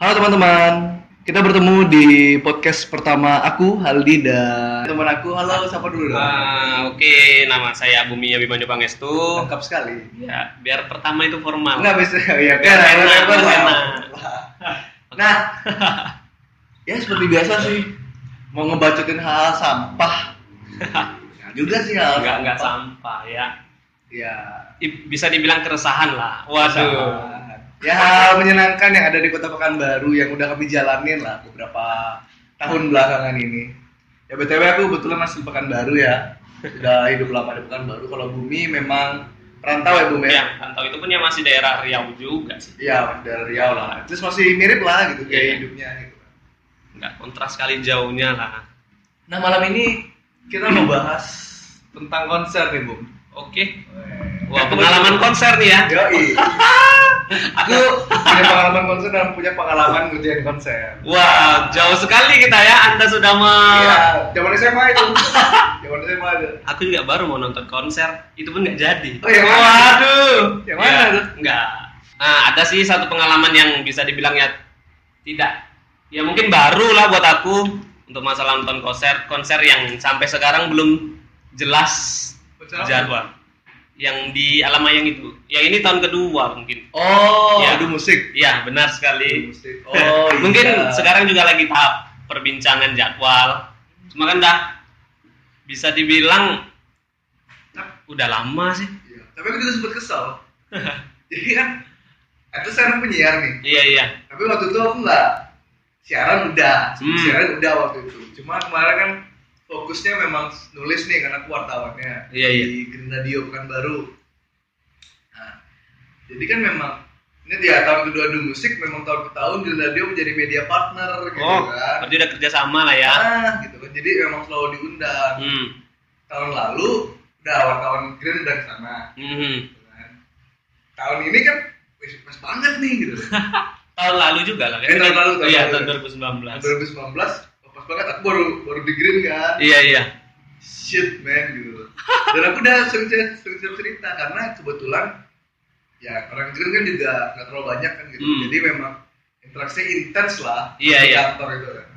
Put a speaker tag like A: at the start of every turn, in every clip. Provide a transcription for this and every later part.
A: Halo teman-teman, kita bertemu di podcast pertama aku Haldi dan teman aku. Halo, siapa dulu dong?
B: Ah, Oke, nama saya Bumi Abimanyu Pangestu.
A: Lengkap sekali.
B: Ya, biar pertama itu formal.
A: Enggak bisa ya
B: Biar
A: karena
B: enak,
A: enak,
B: biar
A: enak.
B: enak.
A: Nah, ya seperti biasa sih mau ngebacotin hal sampah. Nah, juga sih hal
B: Enggak enggak sampah ya.
A: Ya.
B: I- bisa dibilang keresahan lah. Waduh.
A: keresahan. Ya hal menyenangkan yang ada di Kota Pekanbaru yang udah kami jalanin lah beberapa tahun belakangan ini. Ya btw aku kebetulan masih di Pekanbaru ya. Udah hidup lama di Pekanbaru. Kalau Bumi memang perantau ya Bumi.
B: Ya, rantau itu pun ya masih daerah Riau juga sih.
A: Iya, dari Riau lah. Terus masih mirip lah gitu kayak
B: Iya.
A: hidupnya gitu.
B: Enggak kontras kali jauhnya lah.
A: Nah, malam ini kita mau bahas tentang konser nih, Bung.
B: Oke. Wah, pengalaman konser nih ya.
A: Yoi. Aku punya pengalaman konser dan punya pengalaman ngerjain konser.
B: Wah, jauh sekali kita ya. Anda sudah mau
A: Iya, zaman SMA itu. Zaman SMA itu.
B: Aku juga baru mau nonton konser, itu pun nggak jadi.
A: Oh, yang mana?
B: Waduh.
A: Yang mana
B: Ya,
A: tuh?
B: Nggak. Nah, ada sih satu pengalaman yang bisa dibilang ya tidak. Ya mungkin baru lah buat aku untuk masalah nonton konser, konser yang sampai sekarang belum jelas
A: Konser apa?
B: jadwal. Yang di Alamayang itu. Yang ini tahun kedua mungkin.
A: Oh,
B: Iya.
A: adu musik.
B: Iya, benar sekali.
A: Musik. Oh, iya.
B: mungkin sekarang juga lagi tahap perbincangan jadwal. Cuma kan dah bisa dibilang udah lama sih.
A: Iya. Tapi aku juga sempat kesel. Jadi kan itu saya anak penyiar nih.
B: Iya iya.
A: Tapi waktu itu aku nggak siaran udah,
B: Hmm.
A: siaran udah waktu itu. Cuma kemarin kan fokusnya memang nulis nih karena aku wartawannya
B: Iya, iya.
A: di Green Radio Pekanbaru. Nah, jadi kan memang ini dia tahun kedua di musik memang tahun ke tahun Green Radio menjadi media partner gitu
B: Oh,
A: kan.
B: berarti udah kerja sama lah ya.
A: Nah, gitu kan. Jadi memang selalu diundang.
B: Hmm.
A: Tahun lalu udah wartawan Green udah ke sana
B: Mhm.
A: gitu kan. Tahun ini kan wis pas banget nih gitu.
B: Tahun lalu juga lah. kan?
A: Eh, tahun lalu, tahun
B: iya,
A: lalu.
B: tahun 2019.
A: 2019 pas banget aku baru baru di green kan
B: Iya iya.
A: shit man gitu loh. dan aku udah sering cer- sering cer- cerita karena kebetulan ya orang green kan juga nggak terlalu banyak kan gitu
B: Hmm.
A: jadi memang interaksi intens lah
B: Iya,
A: di
B: iya.
A: kantor itu kan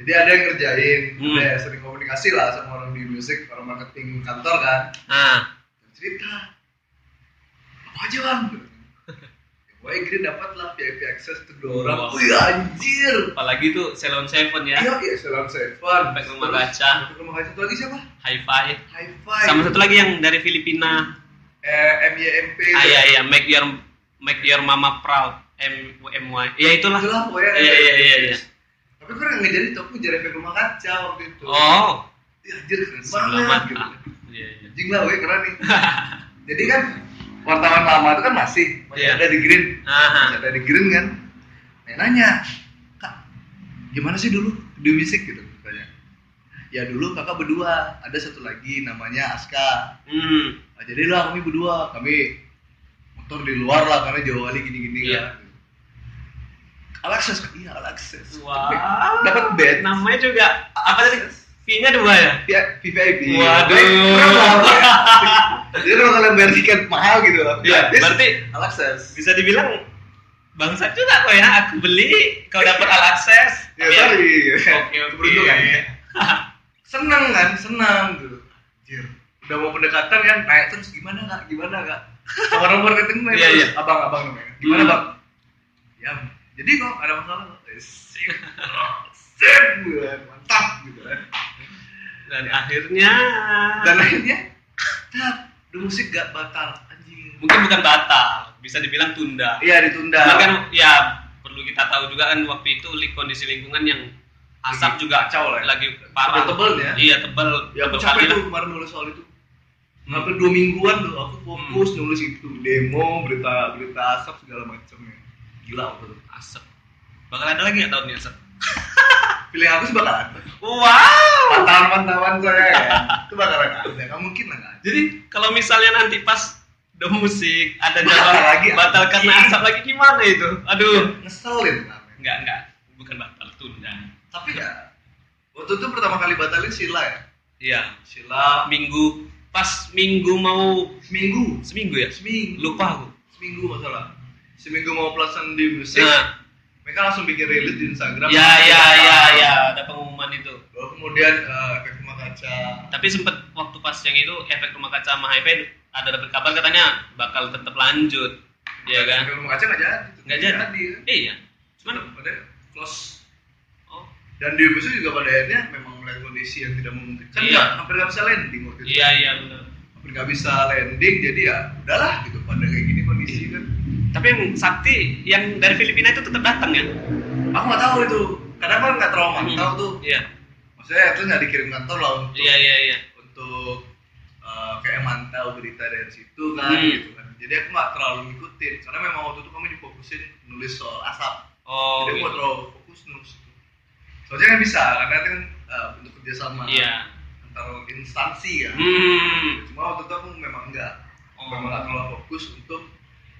A: jadi ada yang ngerjain
B: Hmm.
A: ada yang sering komunikasi lah sama orang di musik orang marketing kantor kan
B: Ah,
A: Dan cerita apa aja bang Gitu. Wah, Green dapat lah VIP access tuh dua orang.
B: Wow.
A: Wih anjir,
B: apalagi tuh Salon Seven ya.
A: Iya, iya, Salam Seven.
B: Sampai ke rumah kaca.
A: Sampai ke rumah kaca itu lagi siapa?
B: High Five.
A: High Five.
B: Sama satu lagi yang dari Filipina.
A: Eh, MYMP.
B: Ah, iya iya. Make your Make your mama proud. M M Y. Ya itulah.
A: Itulah pokoknya.
B: Iya iya iya. iya.
A: Tapi gue nggak jadi tuh, aku ngejar efek rumah kaca waktu itu.
B: Oh.
A: Iya, anjir keren
B: Sebelah
A: banget. Gitu.
B: mata. Iya iya.
A: Anjing lah, gue keren nih. jadi kan wartawan lama itu kan masih masih
B: Iya. Ah.
A: ada di Green,
B: Aha.
A: masih ada di Green kan. Nah, nanya, kak, gimana sih dulu di musik gitu? Tanya. Ya dulu kakak berdua, ada satu lagi namanya Aska.
B: Hmm.
A: Nah, jadilah kami berdua, kami motor di luar lah karena jauh kali gini-gini
B: Iya.
A: ya. Alexis, iya Alexis.
B: Wah.
A: Dapat bed.
B: Namanya juga apa tadi? V-nya dua ya?
A: Ya, VIP.
B: Waduh.
A: Keren banget ya. Jadi kalau kalian bayar tiket mahal gitu loh.
B: Iya, berarti
A: Alexis.
B: bisa dibilang bangsat juga kok ya aku beli kau dapat all access
A: Ya, sorry.
B: Iya, oke
A: Keberuntungan ya.
B: oke
A: Seneng kan, seneng gitu. Anjir. Udah mau pendekatan kan, naik terus gimana kak, gimana kak. Nomor-nomor ketemu
B: Iya,
A: terus,
B: iya.
A: abang-abang namanya. Gimana
B: Hmm.
A: bang? Ya, jadi kok ada masalah. Eh, Sip, sip, gitu kan. mantap gitu kan.
B: dan akhirnya
A: Dan akhirnya, tat, the musik gak batal, anjir.
B: mungkin bukan batal bisa dibilang tunda
A: Iya ditunda.
B: Cuman kan ya perlu kita tahu juga kan waktu itu li- kondisi lingkungan yang asap
A: Lagi
B: juga
A: kacau lah ya.
B: lagi parah
A: Tebel-tebel ya.
B: iya tebel
A: ya aku capek
B: tebel kali lah.
A: tuh kemarin nulis soal itu hampir dua mingguan tuh aku fokus nulis itu demo berita berita asap segala macamnya gila aku tuh
B: asap bakal ada lagi nggak tahun ini asap
A: pilihan aku sih bakalan ada.
B: wow
A: pantauan pantauan saya ya itu bakalan ada nggak mungkin lah nggak ada
B: jadi kalau misalnya nanti pas the musik ada
A: Batal
B: jadwal
A: lagi,
B: batal
A: anjing.
B: karena asap lagi gimana itu aduh
A: ngeselin lah men.
B: Enggak, enggak. Bukan batal, tunda.
A: tapi ya waktu itu pertama kali batalin sila ya
B: Iya.
A: sila
B: Minggu pas minggu mau
A: seminggu
B: seminggu ya?
A: seminggu
B: Lupa aku.
A: seminggu masalah seminggu mau pelaksanaan di musik
B: Nah,
A: mereka langsung bikin rilis di Instagram.
B: ya ya ya ya ada pengumuman itu
A: Lalu kemudian eh, efek rumah kaca.
B: tapi sempet waktu pas yang itu efek rumah kaca sama hype ada dapat kabar katanya bakal tetap lanjut ya kan
A: Efek rumah kaca nggak jadi.
B: nggak jadi
A: kan?
B: iya cuman
A: pada close
B: oh
A: dan di episode juga pada akhirnya memang melihat kondisi yang tidak memungkinkan
B: Iya.
A: nggak hampir nggak bisa landing waktu itu
B: iya iya benar
A: hampir nggak bisa landing jadi ya udahlah gitu pada kayak gini kondisi kan
B: tapi yang Sakti yang dari Filipina itu tetap datang ya
A: aku nggak tahu itu karena kan nggak trauma
B: Hmm.
A: tahu tuh
B: iya
A: maksudnya itu nggak dikirim kantor lah untuk
B: iya iya iya
A: untuk eh, kayak mantau berita dari situ kan
B: Hmm.
A: gitu kan jadi aku nggak terlalu ngikutin karena memang waktu itu kami difokusin nulis soal asap
B: oh
A: jadi aku nggak
B: gitu.
A: terlalu fokus nulis itu soalnya kan bisa karena itu kan eh, bentuk kerjasama
B: iya
A: antar instansi ya
B: hmm
A: cuma waktu itu aku memang enggak
B: Oh.
A: memang enggak terlalu fokus untuk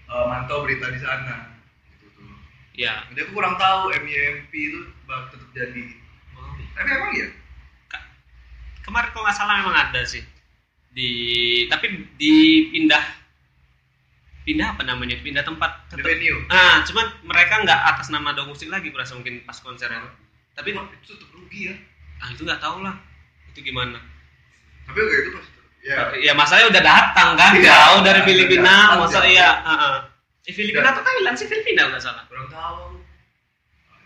A: eh, mantau berita di sana gitu tuh
B: iya
A: jadi aku kurang tahu MIMP itu bak- tetap jadi
B: Oh.
A: tapi emang ya
B: Ka- kemarin kalau nggak salah memang ada sih di tapi dipindah pindah apa namanya pindah tempat
A: di
B: tetap
A: venue
B: ah cuman mereka nggak atas nama dong musik lagi berasa mungkin pas konser itu tapi
A: Wah, itu tetap rugi ya
B: ah itu nggak tahu lah itu gimana
A: tapi kayak itu pasti ya
B: ya masalahnya udah datang kan
A: Iya,
B: jauh dari
A: udah
B: Filipina
A: datang,
B: masa
A: jauh. Iya.
B: iya ah, ah. Eh, Filipina
A: Dan-
B: atau Thailand sih Filipina nggak salah
A: kurang tahu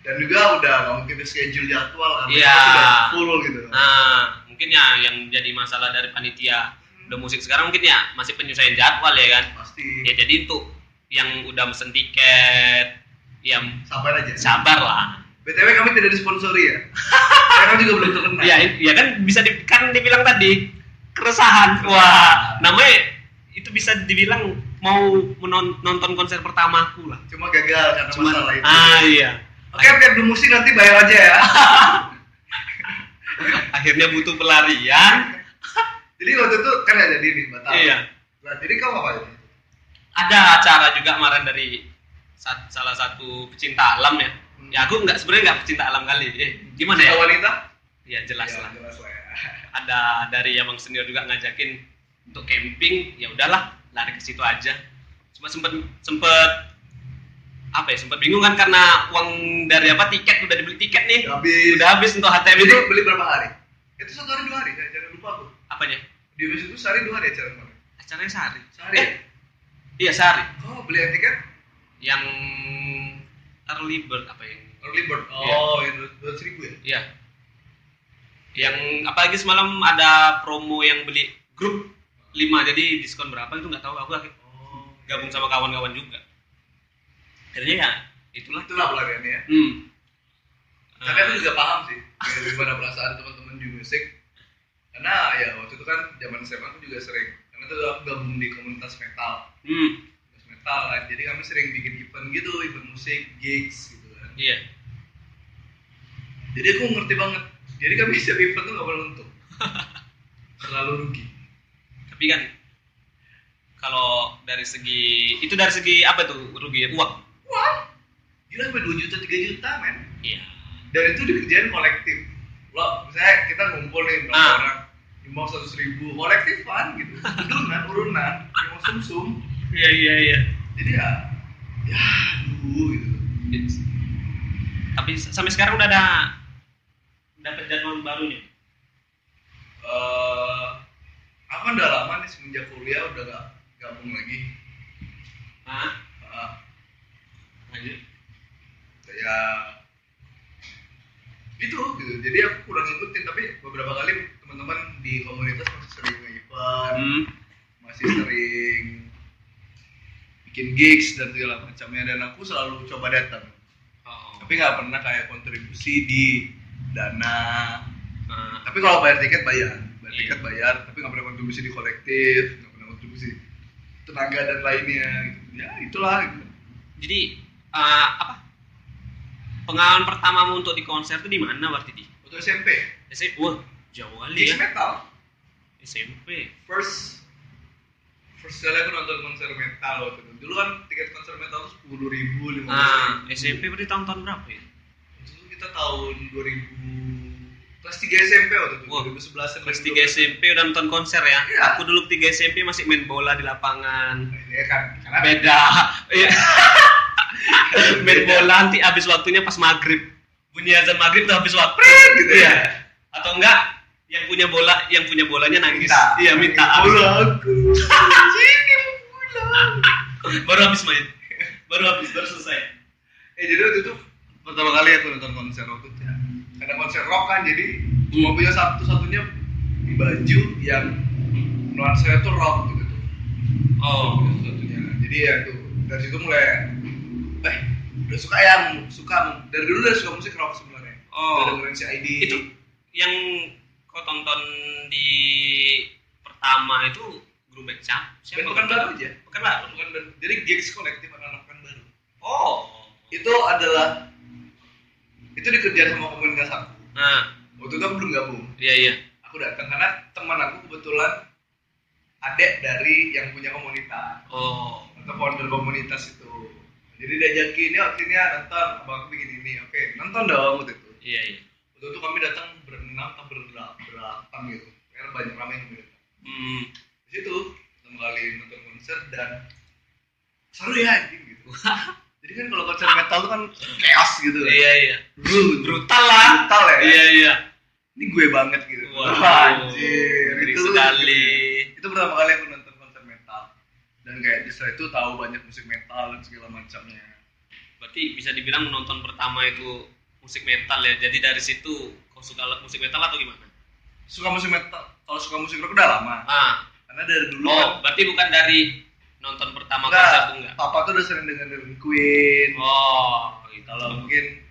A: dan juga udah nggak mungkin di schedule jadwal kan
B: Iya.
A: Mereka sudah full gitu
B: Nah, mungkin ya yang jadi masalah dari panitia udah musik sekarang mungkin ya masih penyesuaian jadwal ya kan.
A: pasti
B: Ya jadi untuk yang udah mesen tiket, ya yang
A: sabar aja
B: sabar lah.
A: btw kami tidak disponsori ya karena kami juga belum terkenal
B: Ya, i- ya kan bisa di, kan dibilang tadi keresahan. Wah, namanya itu bisa dibilang mau menon- nonton konser pertamaku lah.
A: cuma gagal karena
B: Cuman-
A: masalah itu
B: ah iya.
A: Oke, biar di musik nanti bayar aja ya.
B: Akhirnya butuh pelarian.
A: jadi waktu itu kan nggak jadi nih batal.
B: Iya.
A: Nah, jadi kamu apa ini?
B: ada acara juga kemarin dari sa- salah satu pecinta alam ya.
A: Hmm.
B: Ya aku nggak sebenarnya nggak pecinta alam kali. Eh, gimana ya?
A: Cinta wanita?
B: Ya jelas
A: Ya,
B: lah.
A: Jelas lah ya.
B: Ada dari Abang Senior juga ngajakin untuk camping. Ya udahlah, lari ke situ aja. Cuma sempet sempet apa ya? Sempet bingung kan karena uang dari apa tiket udah dibeli tiket nih.
A: Udah Habis.
B: Udah habis untuk HTM
A: Beli,
B: itu.
A: beli berapa hari? Itu satu hari dua hari, ya, jangan lupa aku.
B: Apanya?
A: Di bis itu sehari dua hari acara kemarin.
B: Acaranya sehari.
A: Sehari.
B: Eh, iya sehari.
A: Oh, beli yang tiket?
B: Yang early bird apa yang
A: Early bird.
B: Iya.
A: Oh, yang dua dua ratus ribu ya?
B: Iya. Yang apalagi semalam ada promo yang beli grup 5 jadi diskon berapa itu nggak tahu aku akhirnya
A: Oh.
B: gabung sama kawan-kawan juga. Akhirnya ya itulah.
A: Itulah pelariannya. ya.
B: Hmm.
A: Tapi aku juga paham sih ya, gimana perasaan teman-teman di musik. Karena ya waktu itu kan zaman SMA aku juga sering. Karena itu aku gabung di komunitas metal.
B: Hmm.
A: Terus metal kan jadi kami sering bikin event gitu event musik gigs gitu kan
B: Iya.
A: jadi aku ngerti banget jadi kami setiap event tuh gak pernah untung terlalu rugi
B: Tapi kan kalau dari segi itu dari segi apa tuh rugi ya? uang.
A: wah gila sampai 2 juta 3 juta men
B: Iya.
A: dan itu dikerjain kolektif lo misalnya kita ngumpul nih berapa
B: Ah.
A: orang nyumbang 100 ribu kolektifan gitu urunan urunan nyumbang sumsum
B: Iya iya iya.
A: jadi ya ya aduh gitu
B: Tapi s- sampai sekarang udah ada dapat jadwal barunya.
A: Eh, aku kan udah lama nih semenjak kuliah udah gak gabung lagi
B: Hah?
A: Ah.
B: Lanjut.
A: ya gitu gitu jadi aku kurang ngikutin tapi beberapa kali teman-teman di komunitas masih sering event
B: Hmm.
A: masih sering bikin gigs dan segala macamnya dan aku selalu coba datang
B: Oh.
A: tapi nggak pernah kayak kontribusi di dana
B: Nah,
A: tapi kalau bayar tiket bayar bayar
B: Iya.
A: tiket bayar tapi nggak pernah kontribusi di kolektif nggak pernah kontribusi tenaga dan lainnya gitu. ya itulah gitu.
B: jadi eh, apa pengalaman pertamamu untuk di konser itu di mana berarti di
A: untuk SMP
B: SMP wah jauh kali
A: gigs
B: ya
A: metal
B: SMP
A: first first kali aku nonton konser metal waktu itu dulu kan tiket konser metal tuh sepuluh ribu lima
B: ah SMP berarti tahun-tahun berapa ya
A: itu kita tahun 2000 kelas 3 SMP waktu itu
B: Wah,
A: 2011
B: kelas 3 SMP udah nonton konser ya
A: Iya.
B: aku dulu 3 SMP masih main bola di lapangan
A: ya kan karena
B: beda Iya. main bola nanti habis waktunya pas maghrib bunyi azan maghrib tuh habis waktu prit, gitu ya atau enggak yang punya bola yang punya bolanya nangis
A: Minta.
B: iya minta
A: Bola aku. Sini pulang.
B: baru habis main baru habis baru selesai
A: Eh jadi waktu itu pertama kali aku nonton konser rock itu ya. Karena konser rock kan jadi
B: Hmm.
A: mau punya satu-satunya baju yang nuansanya tuh rock gitu tuh.
B: oh
A: Satu-satunya. Jadi ya tuh dari situ mulai eh udah suka yang suka dari dulu udah suka musik rock sebenarnya.
B: Oh.
A: Udah dengerin si ID.
B: itu yang kau tonton di pertama itu grup band siapa
A: Band
B: siapa
A: Pekanbaru aja.
B: bukan kan baru
A: Bukan band. Jadi gigs kolektif anak-anak Pekanbaru.
B: oh
A: itu adalah itu dikerjain sama komunitas aku
B: nah
A: waktu itu aku belum gabung
B: iya iya
A: aku datang karena teman aku kebetulan adek dari yang punya komunitas
B: oh
A: atau founder komunitas itu jadi diajakin ya akhirnya nonton abang aku bikin ini oke nonton dong waktu itu
B: iya iya
A: waktu itu kami datang berenam atau berdelapan berdelapan gitu karena banyak ramai yang berdatang.
B: hmm
A: di situ pertama kali nonton konser dan seru ya anjing gitu jadi kan kalau konser metal tuh kan chaos gitu kan
B: iya iya
A: Brutal.
B: brutal lah
A: Brutal ya?
B: iya iya
A: ini gue banget gitu.
B: Waduh, ngeri
A: itu
B: sekali.
A: Itu pertama kali aku nonton konser metal dan kayak setelah itu tahu banyak musik metal dan segala macamnya.
B: berarti bisa dibilang menonton pertama itu musik metal ya jadi dari situ kau suka le- musik metal atau gimana
A: Suka musik metal, kalau suka musik rock udah lama.
B: ah
A: Karena dari dulu
B: oh
A: kan
B: berarti bukan dari nonton pertama
A: enggak,
B: konser tuh enggak
A: Papa tuh udah sering dengerin Queen.
B: oh gitu
A: Kalau mungkin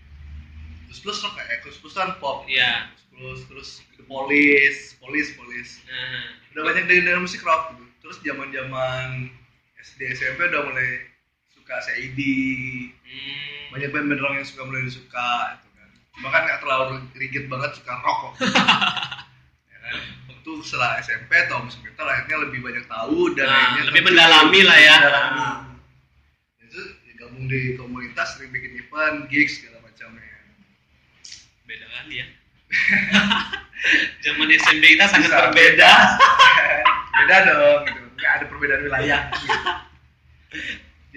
A: plus plus rock kayak plus plus kan pop.
B: Iya.
A: Plus terus The Police, Police, Police.
B: nah
A: udah banyak dari dari musik rock gitu. terus zaman zaman SD SMP udah mulai suka CID
B: hmm,
A: banyak band band rock yang suka mulai disuka gitu kan cuma kan nggak terlalu rigid banget suka rock kok ya kan waktu setelah SMP atau musik metal akhirnya lebih banyak tahu dan
B: Nah,
A: akhirnya
B: lebih
A: terjun-
B: mendalami lah ya.
A: mendalami. itu ya, gabung di komunitas sering bikin event gigs segala macamnya
B: beda kali ya zaman SMP kita sangat
A: Bisa
B: berbeda
A: beda beda dong gitu nggak ada perbedaan wilayah gitu.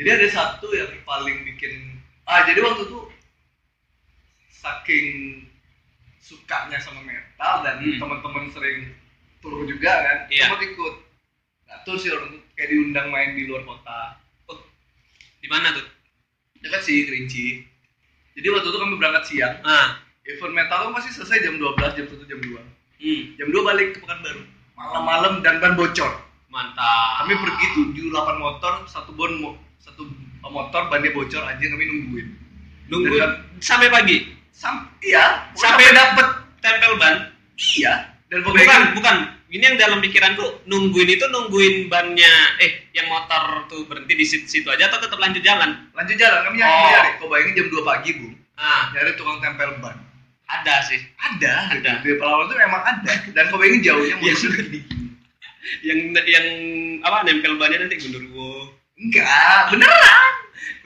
A: jadi ada satu yang paling bikin ah jadi waktu itu saking sukanya sama metal dan
B: Hmm.
A: teman-teman sering tur juga kan
B: Iya.
A: sempat ikut nah tur sih orang itu kayak diundang main di luar kota
B: oh, di mana tuh
A: dekat sih kerinci jadi waktu itu kami berangkat siang
B: ah
A: event metal tuh pasti selesai jam 12 jam 1 jam 2
B: hmm,
A: jam 2 balik ke Pekanbaru malam-malam dan ban bocor
B: mantap
A: kami pergi tujuh delapan motor satu bon mo- satu motor bannya bocor aja kami nungguin
B: nunggu
A: Dan-
B: sampai pagi
A: sam iya
B: sampai dapet tempel ban
A: iya dan
B: bukan
A: pembekan
B: bukan ini yang dalam pikiranku nungguin itu nungguin bannya eh yang motor tuh berhenti di situ, situ aja atau tetap lanjut jalan
A: lanjut jalan kami nyari
B: Oh.
A: nyari kau bayangin jam 2 pagi bu
B: ah
A: nyari tukang tempel ban
B: ada sih
A: ada
B: Ada.
A: gitu. di Pelawan tuh emang ada dan kau bayangin jauhnya mau
B: Iya. yang yang apa nempel bannya nanti gundurwo
A: enggak beneran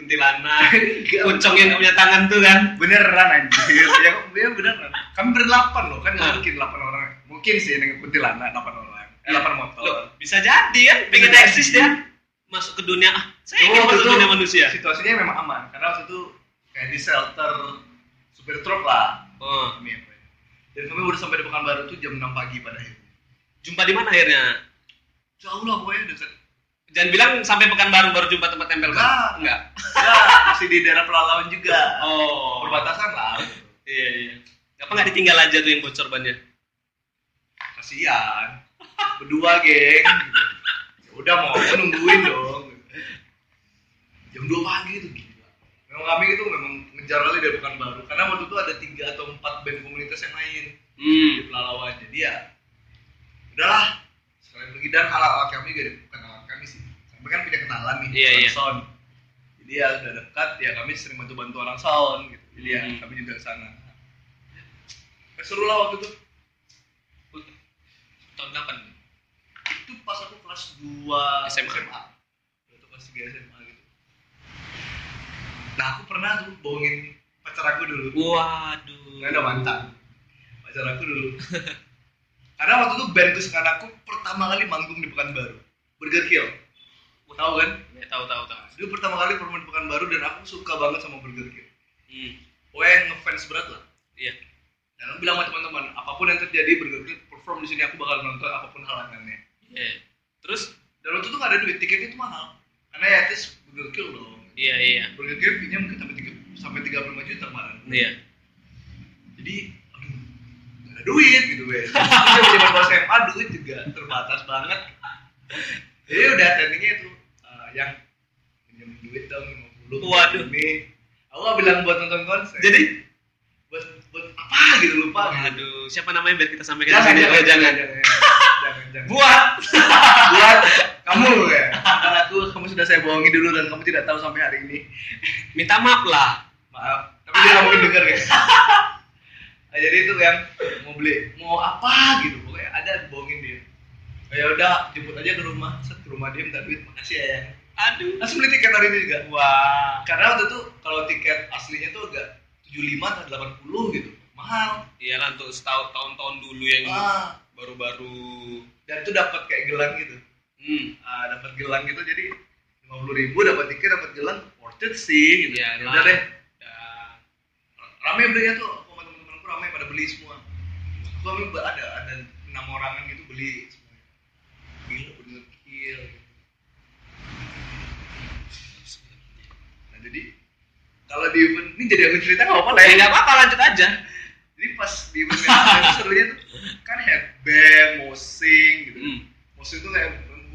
B: kuntilanak
A: Enggak.
B: pocong yang nggak punya tangan tuh kan
A: beneran anjir ya, ya beneran kami berdelapan loh kan
B: Ah. Iya.
A: nggak mungkin delapan orang mungkin sih dengan kuntilanak delapan orang eh, delapan motor
B: Loh, bisa jadi kan pengen
A: jadi.
B: eksis dia masuk ke dunia ah saya ingin
A: Oh, itu
B: masuk ke dunia manusia
A: situasinya memang aman karena waktu itu kayak di shelter supir truk lah
B: oh.
A: kami apa ya. dan kami baru sampai di Pekanbaru tuh jam 6 pagi pada akhirnya
B: jumpa di mana akhirnya
A: jauh lah pokoknya dekat
B: jangan bilang sampai pekanbaru baru jumpa tempat tempel
A: enggak
B: ban enggak
A: enggak masih di daerah perlawan juga
B: oh
A: perbatasan lah gitu.
B: iya iya apa nggak ditinggal aja tuh yang bocor bannya
A: kasihan berdua geng gitu. Ya udah mau aku nungguin dong jam 2 pagi itu gila memang kami itu memang ngejar kali dari Pekanbaru karena waktu itu ada tiga atau empat band komunitas yang lain di
B: hmm
A: pelalawan jadi ya udahlah sekalian pergi dan alat alat kami juga bukan alat kami sih kami kan punya kenalan nih
B: Iya,
A: orang
B: iya.
A: sound jadi ya udah dekat ya kami sering bantu bantu orang sound gitu jadi ya
B: Hmm.
A: kami juga ke sana Eh, seru lah waktu itu
B: tahun kapan
A: itu pas aku kelas 2
B: SMA.
A: itu kelas 3 SMA gitu nah aku pernah tuh bohongin pacar aku dulu
B: waduh
A: Nggak ada mantan. Pacar aku dulu. Karena waktu itu band kesukaan aku pertama kali manggung di Pekanbaru. Burger Kill. Tahu kan?
B: Ya, tahu tahu tahu.
A: Dulu pertama kali permen Pekanbaru dan aku suka banget sama Burger King.
B: Hmm.
A: Pokoknya yang ngefans berat lah.
B: Iya.
A: Dan aku bilang sama teman-teman, apapun yang terjadi Burger King perform di sini aku bakal nonton apapun halangannya.
B: Iya. Terus
A: Dan waktu itu nggak ada duit, tiketnya itu mahal. Karena ya at least Burger King loh.
B: iya iya.
A: Burger King fee-nya mungkin sampai tiga sampai 35 juta kemarin.
B: Iya.
A: Jadi aduh nggak ada duit gitu weh. Jadi zaman pas SMA duit juga terbatas banget. Jadi udah trendingnya itu eh, yang pinjam duit dong 50
B: Waduh.
A: ini. Aku nggak bilang buat nonton konser.
B: Jadi
A: buat buat apa gitu lupa. gitu.
B: aduh, siapa namanya biar kita sampaikan
A: Jangan,
B: di sini.
A: jangan,
B: Oh, jangan.
A: jangan, jangan, jangan.
B: Buat
A: buat kamu ya. Karena aku kamu sudah saya bohongi dulu dan kamu tidak tahu sampai hari ini.
B: minta maaf lah.
A: Maaf, tapi dia nggak mungkin denger guys. Nah, jadi itu yang mau beli mau apa gitu pokoknya ada bohongin dia. Oh, ya udah jemput aja ke rumah, set ke rumah dia minta duit, makasih ya. Yang.
B: Aduh.
A: Langsung beli tiket hari ini juga.
B: Wah.
A: Karena waktu itu kalau tiket aslinya tuh agak 75 atau 80 gitu, mahal.
B: Iyalah Iya untuk setahun tahun-tahun dulu yang
A: Ah,
B: baru-baru
A: dan tuh dapat kayak gelang gitu.
B: hmm
A: Ah, dapat gelang gitu jadi 50 ribu dapat tiket dapat gelang worth it sih gitu.
B: Iya,
A: Ya udah
B: lah.
A: deh,
B: dan
A: rame belinya tuh aku sama temen-temenku rame pada beli semua aku kami ada ada enam orangan gitu beli semuanya gila bener gila nah jadi kalau di event ini jadi aku cerita nggak apa-apa lah
B: ya
A: ya
B: nggak apa-apa lanjut aja
A: jadi pas di event yang itu serunya tuh kan headband mosing gitu
B: hmm.
A: mosing tuh kayak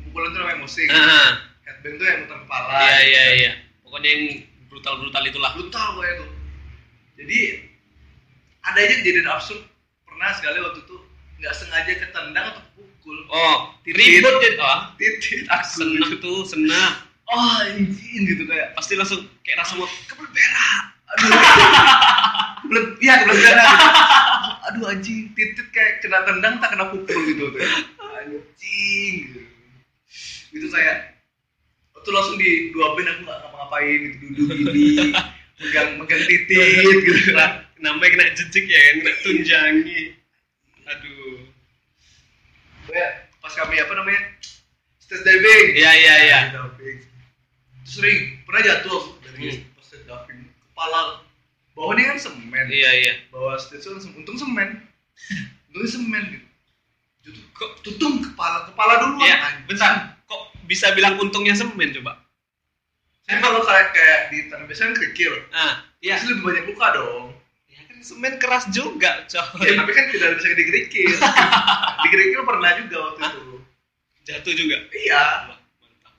A: pukulan tuh namanya mosing
B: Ah,
A: headband tuh yang muter kepala
B: iya
A: gitu
B: iya
A: kan.
B: iya pokoknya yang brutal brutal itulah
A: brutal gue itu jadi ada aja kejadian absurd pernah sekali waktu itu nggak sengaja ketendang atau pukul
B: oh
A: Titit. Ah,
B: ribut jadi oh
A: titik aku
B: senah
A: gitu.
B: tuh senah
A: oh anjing gitu kayak
B: pasti langsung kayak rasa mau
A: kebelet berak aduh kebelet iya kebelet berak gitu. aduh anjing titik kayak kena tendang tak kena pukul gitu tuh anjing gitu. itu saya itu langsung di dua ben aku nggak ngapa-ngapain gitu duduk gini megang megang titik gitu kan
B: Nah, namanya kena jejik ya kan kena tunjangi aduh
A: Kayak pas kami apa namanya stage diving
B: iya iya iya
A: Stage diving Terus sering pernah jatuh dari
B: Hmm.
A: pas stage diving kepala bawahnya kan semen
B: iya iya
A: bawah stage itu kan semen. untung semen untung semen gitu Jatuh-
B: kok
A: tutung kepala kepala dulu
B: iya bentar kok bisa bilang untungnya semen coba
A: saya kalau kayak kayak di tanah biasa kan kecil
B: ah iya
A: terus lebih banyak luka dong
B: ya kan semen keras juga coy
A: ya, tapi kan tidak bisa digerikil digerikil pernah juga waktu itu
B: jatuh juga
A: iya
B: Wah, mantap.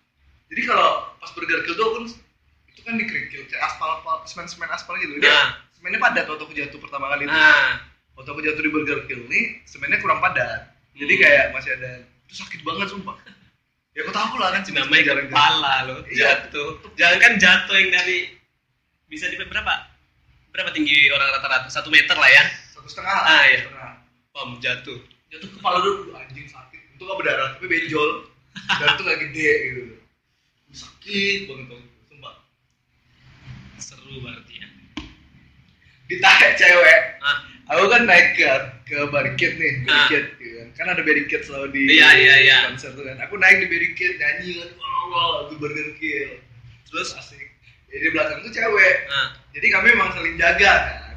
A: jadi kalau pas burger kill tuh aku kan- itu kan dikerikil kayak aspal aspal semen semen aspal gitu dia
B: Nah.
A: semennya padat waktu aku jatuh pertama kali itu
B: nah
A: waktu aku jatuh di burger kill nih semennya kurang padat jadi
B: Hmm.
A: kayak masih ada itu sakit banget sumpah ya aku tahu lah kan semen
B: namanya kepala loh
A: Iya.
B: jatuh jangan kan jatuh yang dari bisa di berapa berapa tinggi orang rata-rata satu meter lah ya
A: satu setengah lah,
B: Ah,
A: satu
B: iya.
A: setengah.
B: pom jatuh
A: jatuh kepala dulu aduh, anjing sakit itu gak berdarah tapi benjol dan itu gak gede gitu sakit banget tuh sumpah
B: seru berarti ya
A: ditarik cewek
B: ah
A: aku kan naik ke ke barricade nih
B: Ah.
A: barricade gitu kan kan ada barricade selalu di
B: Iya, iya, iya.
A: konser tuh kan aku naik di barricade nyanyi kan wow wow itu burger kill terus asik jadi di belakang tuh cewek
B: ah
A: jadi kami emang saling jaga kan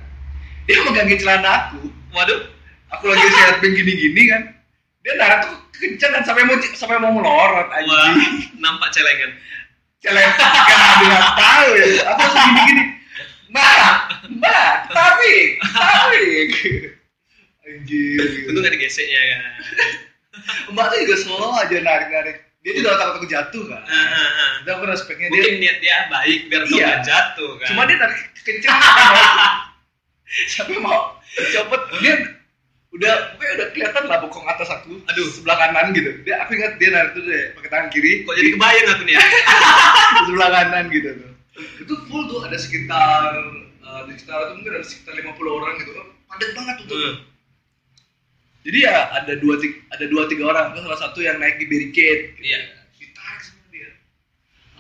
A: dia megangin celana aku
B: waduh
A: aku lagi sehat gini gini kan dia narik tuh kenceng kan sampai mau sampai mau melorot
B: wah
A: anjing
B: nampak celengan
A: celek kan dia tahu ya aku langsung gini gini mbak mbak tarik tarik anjir gitu.
B: untung gak digesek ya kan
A: mbak tuh juga slow aja narik narik dia juga takut aku jatuh kan
B: Ah, ah, ah.
A: itu aku respeknya dia
B: mungkin niat dia baik biar kau
A: Iya.
B: nggak jatuh kan
A: cuma dia narik kenceng kan. sampai mau copot dia udah pokoknya udah kelihatan lah bokong atas aku
B: Aduh.
A: sebelah kanan gitu dia aku ingat dia narik tuh deh pakai tangan kiri
B: kok jadi kebayang aku nih ya
A: di sebelah kanan gitu tuh itu full tuh ada sekitar eh, di sekitar itu mungkin ada sekitar 50 orang gitu kan padat banget tuh
B: Hmm.
A: jadi ya ada dua tiga, ada dua tiga orang kan salah satu yang naik di barricade gitu.
B: Iya.
A: ditarik sama dia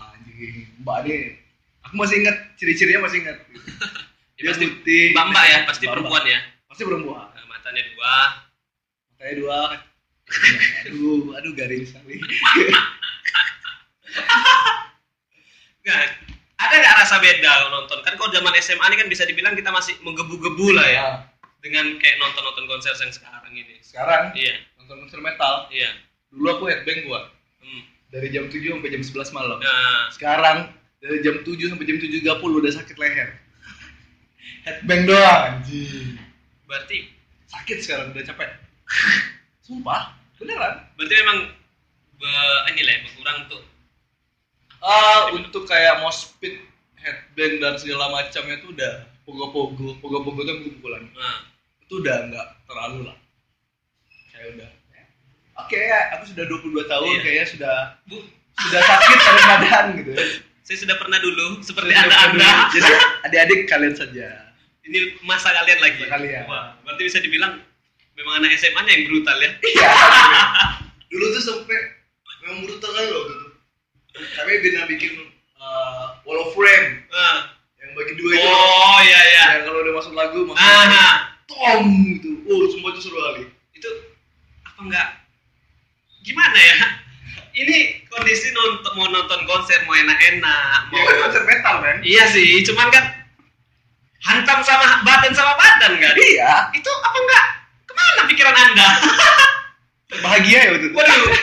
A: Ah, anjing mbak ini aku masih ingat ciri-cirinya masih ingat gitu.
B: Ya, pasti
A: putih
B: mbak mbak ya pasti
A: Mbak-mbak.
B: perempuan ya
A: pasti perempuan
B: Eh, matanya dua
A: matanya dua aduh aduh garing sekali
B: Nggak, ada nggak rasa beda lo nonton? Kan kalau zaman SMA ini kan bisa dibilang kita masih menggebu-gebu lah ya
A: Nah,
B: dengan kayak nonton-nonton konser yang sekarang ini.
A: sekarang
B: Iya,
A: nonton konser metal
B: iya.
A: dulu aku headbang gua
B: Hmm.
A: dari jam 7 sampai jam 11 malam
B: Nah,
A: sekarang dari jam 7 sampai jam 7.30 udah sakit leher headbang doang anjing
B: berarti
A: sakit sekarang udah capek sumpah beneran
B: berarti memang be- ini lah ya, berkurang tuh.
A: Ah, untuk kayak mospit headband dan segala macamnya itu udah pogo-pogo pogo-pogo itu pukul-pukulan
B: Nah,
A: itu udah nggak terlalu lah kayak udah ya. oke aku sudah 22 tahun
B: Iya.
A: kayaknya sudah
B: Bu,
A: sudah sakit karena keadaan gitu
B: saya sudah pernah dulu seperti
A: Sudah
B: anda-anda.
A: dulu. jadi adik-adik kalian saja
B: ini masa kalian lagi
A: Masa kalian.
B: Wah, berarti bisa dibilang memang anak SMA nya yang brutal ya
A: iya dulu tuh sampai memang brutal kan loh gitu kami pernah bikin eh, wall of frame
B: Ah.
A: yang bagi dua itu
B: oh iya iya
A: yang kalau udah masuk lagu masuk lagu,
B: ah
A: tom gitu oh semua itu seru kali
B: itu apa enggak gimana ya ini kondisi nonton mau nonton konser mau enak-enak mau
A: ya kan konser metal kan
B: iya sih cuman kan hantam sama badan sama badan kan
A: iya
B: itu apa enggak kemana pikiran anda
A: bahagia ya waktu itu
B: waduh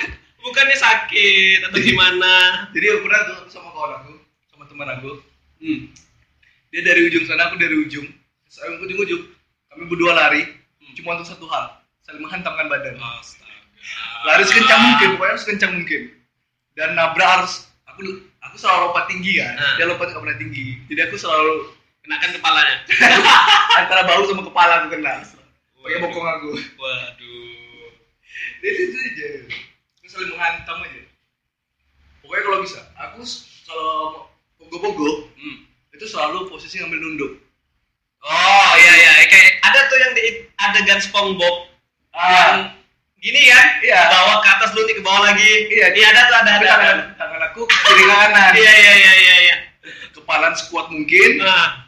B: bukannya sakit atau gimana
A: jadi aku pernah tuh sama kawan aku sama teman aku
B: hmm.
A: dia dari ujung sana aku dari ujung saya ujung ujung kami berdua lari
B: Hmm.
A: cuma untuk satu hal saling menghantamkan badan
B: Ah. astaga
A: lari sekencang mungkin pokoknya harus sekencang mungkin dan nabrak harus aku aku selalu lompat tinggi kan
B: Hmm.
A: dia lompat nggak pernah tinggi jadi aku selalu
B: kenakan kepalanya
A: antara bahu sama kepala aku kena pakai bokong aku
B: waduh
A: jadi itu aja aku saling menghantam aja pokoknya kalau bisa aku s- kalau pogo-pogo
B: hmm.
A: itu selalu posisi ngambil nunduk
B: oh iya iya kayak ada tuh yang di adegan SpongeBob yang
A: ah
B: gini kan
A: Iya.
B: ke bawah ke atas lu ke bawah lagi
A: Iya.
B: Ini ada tuh ada
A: tapi
B: ada,
A: tangan, tangan aku kiri ke kanan
B: iya iya iya iya iya
A: kepalan sekuat mungkin
B: nah,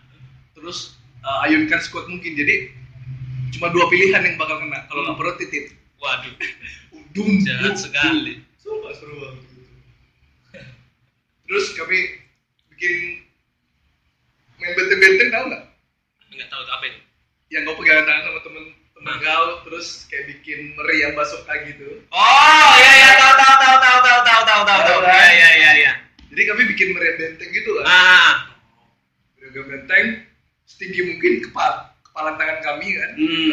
A: terus eh, ayunkan sekuat mungkin jadi cuma dua pilihan yang bakal kena kalau nggak
B: Hmm.
A: perut titit
B: waduh
A: dum
B: jahat
A: dum,
B: sekali
A: dum. sumpah seru banget gitu. terus kami bikin main benteng-benteng tau nggak
B: nggak tahu tuh apa itu
A: yang kau pegangan tangan sama temen temen
B: Hah?
A: kau terus kayak bikin meri yang basoka gitu
B: oh iya iya tahu tahu tahu tahu tahu tahu tahu tahu
A: Tahu
B: tahu
A: kan?
B: iya iya iya iya
A: jadi kami bikin meri benteng gitu lah
B: ah
A: meriam benteng setinggi mungkin kepala kepala tangan kami kan
B: hmm.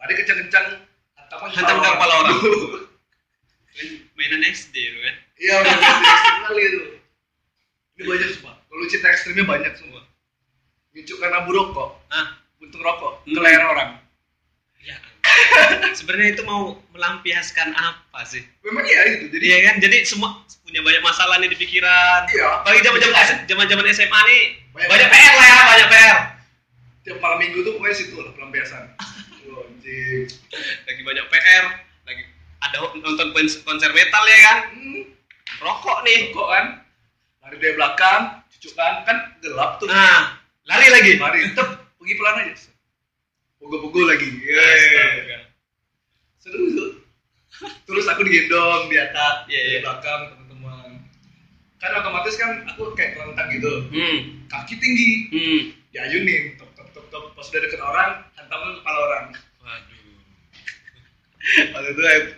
A: lari kencang-kencang hantaman
B: Hantam ke kepala orang. mainan SD lu kan
A: iya udah pasti ekstrim kali itu ini banyak semua kalau cerita ekstrimnya banyak semua nyucuk karena abu rokok
B: ah
A: untung rokok
B: Hmm.
A: ke leher orang
B: ya sebenarnya itu mau melampiaskan apa sih
A: memang iya itu
B: Jadi
A: jadi
B: ya kan, jadi semua punya banyak masalah nih di pikiran.
A: Iya.
B: Bagi zaman-zaman zaman-zaman SMA nih banyak,
A: Banyak-
B: PR lah ya, banyak PR.
A: tiap malam minggu tuh pokoknya situ lah pelampiasan Tuh, anjing
B: Lagi banyak PR, lagi ada nonton kon- konser metal ya kan.
A: hmm.
B: Rokok nih.
A: rokok kan lari dari belakang cucukan kan gelap tuh
B: Nah, lari lagi.
A: lari tetep pergi pelan aja pukul-pukul lagi
B: Iya.
A: Yeay.
B: Astaga.
A: seru tuh terus aku digendong di atas
B: Iya, iya.
A: di belakang teman-teman kan otomatis kan aku kayak kelentang gitu
B: Hmm.
A: kaki tinggi
B: Hmm.
A: diayunin top top top top pas udah deket orang hantamin kepala orang
B: Waduh.
A: waktu itu ab-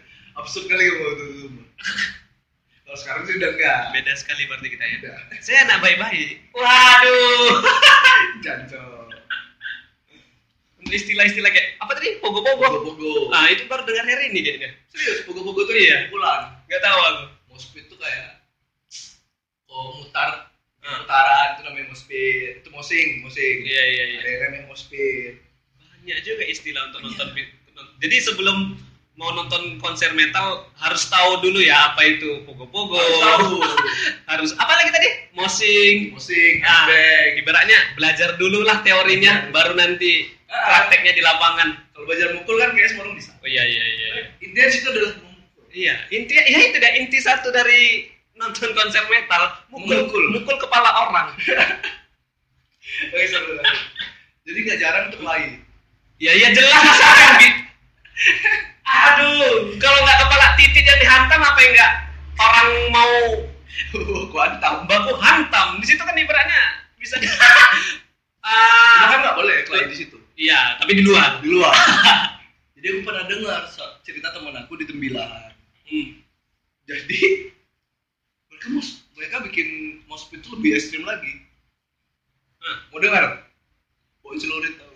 A: absurd kali ya waktu itu kalau sekarang sih udah enggak
B: Beda sekali berarti kita ya.
A: udah
B: Saya anak baik-baik. Waduh.
A: jancok
B: Untuk istilah-istilah kayak apa tadi? Pogo-pogo.
A: pogo-pogo
B: Nah, itu baru dengar hari ini kayaknya.
A: serius pogo-pogo tuh
B: Iya.
A: iya pulang
B: Gak tahu aku.
A: Mospit tuh kayak oh mutar
B: Ah.
A: putaran itu namanya mospit itu mosing mosing
B: Iya, iya, iya.
A: ada yang namanya mospit
B: banyak juga istilah untuk
A: Iya.
B: nonton bi- jadi sebelum mau nonton konser metal harus tahu dulu ya apa itu pogo-pogo
A: Harus tahu
B: harus apa lagi tadi mosing
A: mosing
B: Ah,
A: headbang
B: ibaratnya belajar dulu lah teorinya
A: Belajar.
B: baru nanti
A: Ah.
B: prakteknya di lapangan
A: kalau belajar mukul kan kayak semua orang bisa
B: oh iya iya iya iya.
A: intinya situ adalah memukul
B: iya inti ya itu dah inti satu dari nonton konser metal mukul
A: Memukul.
B: mukul kepala orang
A: Oke, seru seru. jadi nggak jarang untuk lain
B: ya iya jelas kan Bi. aduh kalau nggak kepala titik yang dihantam apa yang nggak orang mau
A: Gua hantam.
B: Baku hantam. Di situ kan ibaratnya bisa di...
A: Cuma
B: Ah,
A: kan nggak boleh ya klien di situ.
B: iya, tapi di luar.
A: Di luar. Jadi aku pernah dengar so- cerita teman aku di Tembilahan.
B: Hmm.
A: Jadi mereka mau mereka bikin mospit itu lebih ekstrim lagi.
B: Hah.
A: Mau dengar? Bawa celurit,
B: Nggak.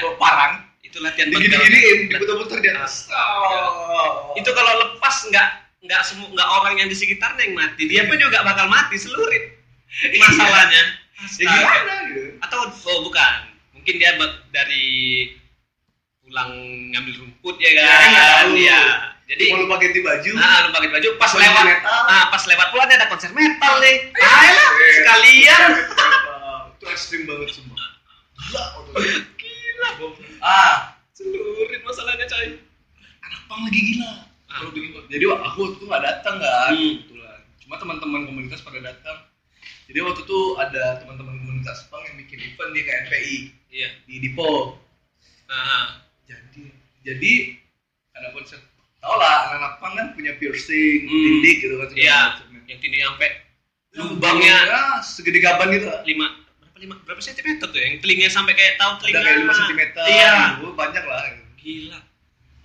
A: bawa Oh, parang,
B: Itu latihan
A: digini-giniin, diputer-puter di atas. kan
B: Astaga. Nah, Itu kalau lepas nggak nggak semua nggak orang yang di sekitarnya yang mati, dia pun juga bakal mati selurit.
A: Iya.
B: Masalahnya.
A: ya
B: Astaga.
A: gimana gitu?
B: atau oh bukan mungkin dia ber- dari pulang ngambil rumput ya kan
A: Ya, Ah, nggak tahu.
B: Iya. jadi
A: Mau lu pakai ganti baju?
B: nah lu pakai baju pas
A: Baju
B: lewat
A: metal. Eh,
B: nah pas lewat pula dia ada konser metal nih
A: Ayolah,
B: ayolah sekalian
A: Itu ekstrim banget semua. Gila, otaknya. Ah,
B: seluruh masalahnya coy
A: anak pang lagi gila. Kalau bikin konten. Jadi wah, aku tuh nggak datang kan,
B: Hmm.
A: kebetulan. Cuma teman-teman komunitas pada datang. Jadi waktu itu ada teman-teman komunitas pang yang bikin event di KNPI
B: iya
A: di Dipo.
B: nah,
A: Jadi, jadi ada konsep. Tau lah, anak-anak pang kan punya piercing,
B: Hmm.
A: tindik gitu kan. segala
B: Iya.
A: macamnya.
B: yang tinggi sampai
A: Ya,
B: lubangnya
A: segede gaban gitu.
B: lima berapa lima berapa sentimeter tuh ya? yang telinga sampai kayak tahu
A: Ada
B: telinga
A: kayak 5 cm.
B: iya
A: gitu, banyak lah.
B: gila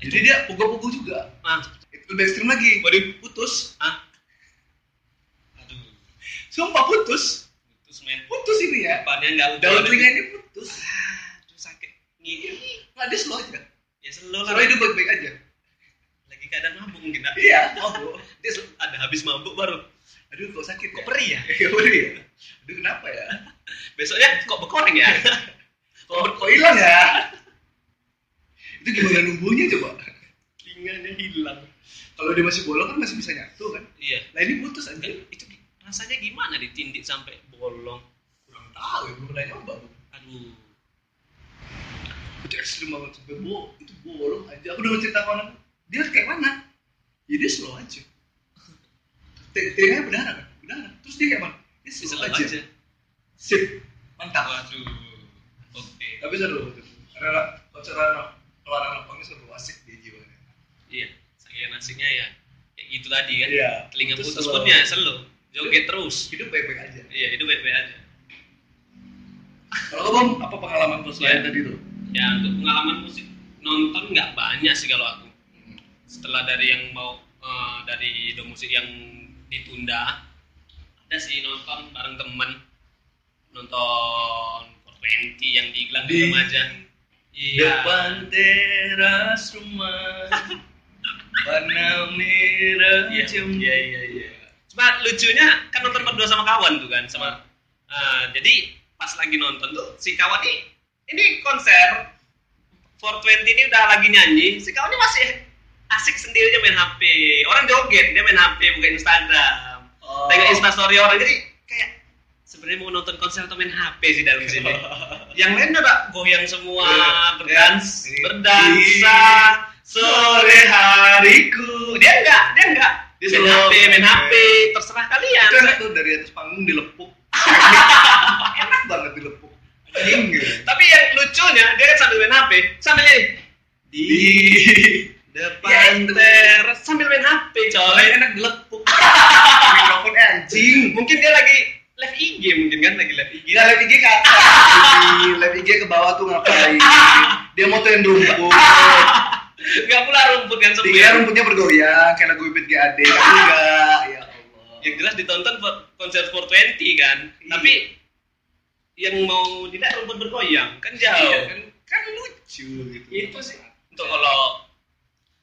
A: Jadi dia pukul-pukul juga.
B: ah
A: Itu lebih ekstrim lagi.
B: waduh
A: Putus.
B: ah aduh
A: Sumpah putus.
B: itu semen
A: Putus ini ya.
B: depannya nggak
A: Daun telinga ini putus.
B: Aduh, sakit ngigil
A: Nggak ada slow aja.
B: ya selalu lah
A: Slow hidup baik-baik aja.
B: lagi keadaan mabuk mungkin Nak.
A: Iya. Oh,
B: dia sel- ada habis mabuk baru
A: aduh kok sakit
B: kok
A: ya?
B: perih ya
A: Ya udah ya. Aduh kenapa ya?
B: besoknya kok bekoreng ya
A: Kok kok hilang ya? Itu gimana numbuhnya coba?
B: telinganya hilang
A: Kalau dia masih bolong kan masih bisa nyatu kan?
B: iya
A: Nah ini putus aja.
B: Eh, itu gi- rasanya gimana ditindik sampai bolong
A: Kurang tahu ya, belum pernah nyoba. Bu.
B: aduh
A: itu ekstrim banget sampai bo itu bolong aja aku udah cerita kawan aku dia kayak mana ya dia slow aja Te- telinganya berdarah kan berdarah terus dia kayak mana dia slow,
B: diselap
A: aja.
B: aja
A: sip mantap
B: waduh oke
A: tapi seru karena konser anak keluar anak pangnya seru asik dia jiwanya
B: iya saking asiknya ya kayak gitu tadi kan
A: Iya.
B: telinga
A: Itu
B: putus
A: selalu.
B: pun ya selalu joget terus
A: hidup baik-baik aja
B: iya itu baik-baik aja
A: kalau kamu apa pengalaman tuh selain
B: Iya.
A: tadi tuh
B: ya untuk pengalaman musik nonton nggak banyak sih kalau aku
A: Hmm.
B: setelah dari yang mau eh, dari do musik yang ditunda ada sih nonton bareng temen nonton 420 yang di Glang
A: Di-
B: remaja iya
A: depan teras rumah warna merah
B: Iya,
A: cemburu
B: iya, iya, iya. cuma lucunya kan nonton berdua sama kawan tuh kan sama eh, jadi pas lagi nonton tuh si kawan nih ini konser 420 ini udah lagi nyanyi si kawan ini masih asik sendiri aja main HP orang joget dia main HP buka Instagram
A: Oh.
B: tengok instastory orang jadi kayak sebenarnya mau nonton konser atau main HP sih dalam sini yang lain udah goyang semua
A: Iya.
B: berdans
A: Iya.
B: berdansa sore hariku dia enggak dia enggak
A: Dia
B: main
A: slow.
B: HP main HP terserah kalian
A: Kan itu enak tuh dari atas panggung dilepuk enak banget dilepuk anjing gitu
B: tapi yang lucunya dia kan sambil main HP sambil ini di ya,
A: depan teras
B: teras sambil main HP coy
A: Soalnya enak dilepuk mikrofon eh, anjing
B: mungkin dia lagi live IG mungkin kan lagi live IG
A: gila lab IG ke atas Anjing. lab IG ke bawah tuh ngapain dia motoin rumput
B: nggak pula rumput kan
A: dikira
B: sebenarnya
A: rumputnya bergoyang kayak lagu Ibit GAD tapi enggak ya Allah
B: yang jelas ditonton buat konser 420 kan
A: Iya.
B: tapi yang mau tidak rumput bergoyang kan
A: Iya,
B: jauh
A: kan, kan lucu gitu
B: itu sih untuk kalau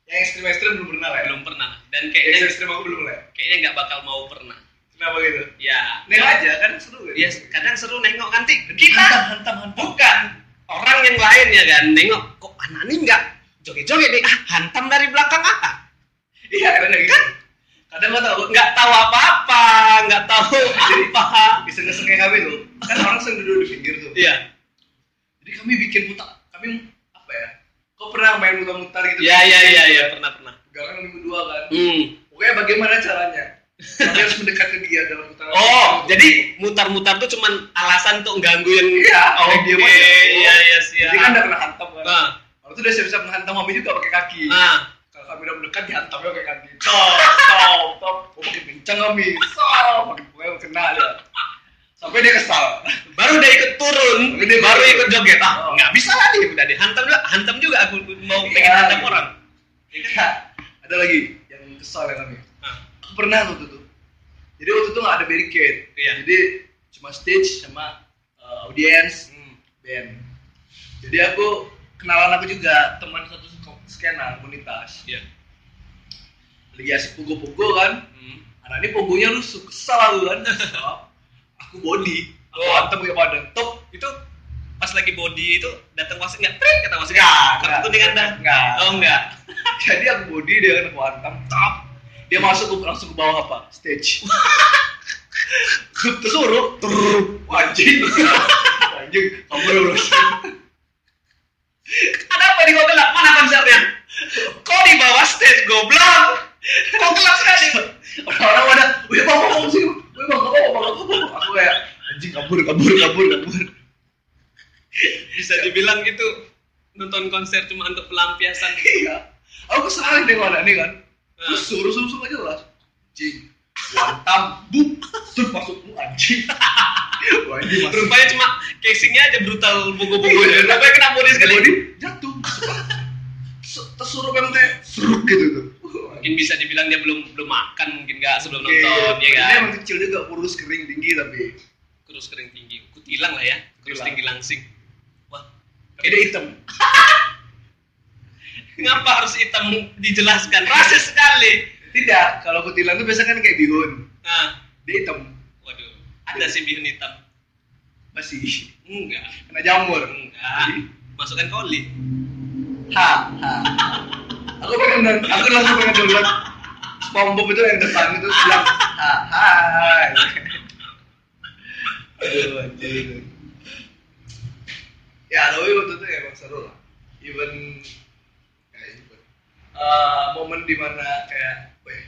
A: yang ekstrim-ekstrim belum pernah lah ya
B: belum pernah dan
A: yang
B: kayaknya
A: ekstrim aku belum lah ya
B: kayaknya nggak bakal mau pernah
A: kenapa gitu
B: ya
A: Nengok aja kan seru kan?
B: ya kadang seru nengok nanti
A: Hantam,
B: kita
A: hantam, hantam.
B: bukan orang yang lain ya kan nengok kok anak ini nggak joget-joget nih ah hantam dari belakang ah
A: Iya, kadang kayak gitu. Kadang gua tau, enggak
B: nggak tahu apa-apa nggak tahu apa
A: bisa ngesengnya kami tuh. Kan orang sering duduk di pinggir tuh.
B: iya
A: Jadi kami bikin putar. Kami apa ya? Kau pernah main mutar-mutar gitu?
B: iya iya iya ya, pernah pernah
A: Pegangan kami berdua kan.
B: hmm
A: Pokoknya bagaimana caranya? Kami harus mendekat ke dia dalam putaran.
B: Oh, jadi mutar-mutar tuh cuman alasan untuk ganggu yang
A: Iya,
B: Oh, oke,
A: yang diem aja.
B: iya iya siap.
A: Jadi kan udah kena hantam kan.
B: Ah,
A: Waktu itu udah siap-siap menghantam kami juga pakai kaki.
B: ah,
A: Kalau kami udah mendekat ya dihantamnya kayak ganti
B: Nah.
A: top top top oh, makin kencang kami top makin pokoknya kena ya sampai dia kesal
B: baru dia ikut turun
A: Dia-
B: baru ikut joget ah
A: Oh.
B: nggak bisa lagi udah dihantam juga hantam juga aku mau
A: Iya,
B: pengen hantam
A: iya.
B: orang
A: Iya. ada lagi yang kesal ya kami
B: Ah,
A: aku pernah waktu itu jadi waktu itu nggak ada barricade
B: Iya.
A: jadi cuma stage sama uh, audience
B: hmm.
A: band jadi aku kenalan aku juga teman satu skena komunitas
B: iya
A: lagi asik pugo-pugo kan
B: Hmm.
A: Anak ini pogonya rusuh, kesal aku kan. Stop. aku body, aku
B: Oh.
A: hantam pakai badan. Top.
B: itu pas lagi body itu datang wasit nggak trik kata wasit
A: Nggak,
B: kartu
A: nggak.
B: kuningan dah
A: Nggak.
B: oh nggak
A: Jadi aku body dia kan aku hantam. Top. Dia masuk ke, langsung ke bawah apa? Stage. Terus suruh, turun, anjing, anjing, kamu udah berhasil.
B: ada apa di kau gelap mana konsernya kau di bawah stage goblok kau gelap sekali
A: Orang-orang pada, wih bang, bang, bang, sini, wih bang, bang, bang, bang, bang, aku kayak anjing kabur, kabur, kabur, kabur.
B: bisa dibilang gitu nonton konser cuma untuk pelampiasan
A: Iya, aku kesalahan deh anak ini kan.
B: Hmm.
A: Terus suruh suruh suruh aja lah. Anjing, wantam, buk, terus masuk lu anjing. Wah ini masuk.
B: rupanya cuma casingnya aja brutal bogo-bogo
A: Iya.
B: rupanya kena body sekali
A: Body jatuh. Terus- Terus suruh pengen teh, seruk gitu tuh.
B: mungkin bisa dibilang dia belum belum makan mungkin nggak sebelum
A: Oke,
B: nonton ya
A: Dia
B: kan
A: emang kecil juga, kurus kering tinggi tapi.
B: kurus kering tinggi kutilang lah ya kurus
A: Kutilang.
B: tinggi langsing wah
A: Tapi dia hitam.
B: Kenapa harus hitam dijelaskan? Rasis sekali.
A: Tidak, kalau kutilan tuh biasanya kan kayak bihun.
B: Nah,
A: Dia hitam,
B: waduh, ada sih bihun hitam.
A: masih
B: Enggak,
A: kena jamur.
B: enggak. Masukkan koli.
A: Ha, ha. Aku pengen dan aku langsung pengen download SpongeBob itu yang depan itu bilang ha, ha. Aduh, anjing. Ya, tapi waktu itu emang seru lah. Even kayak even eh, momen dimana kayak, weh,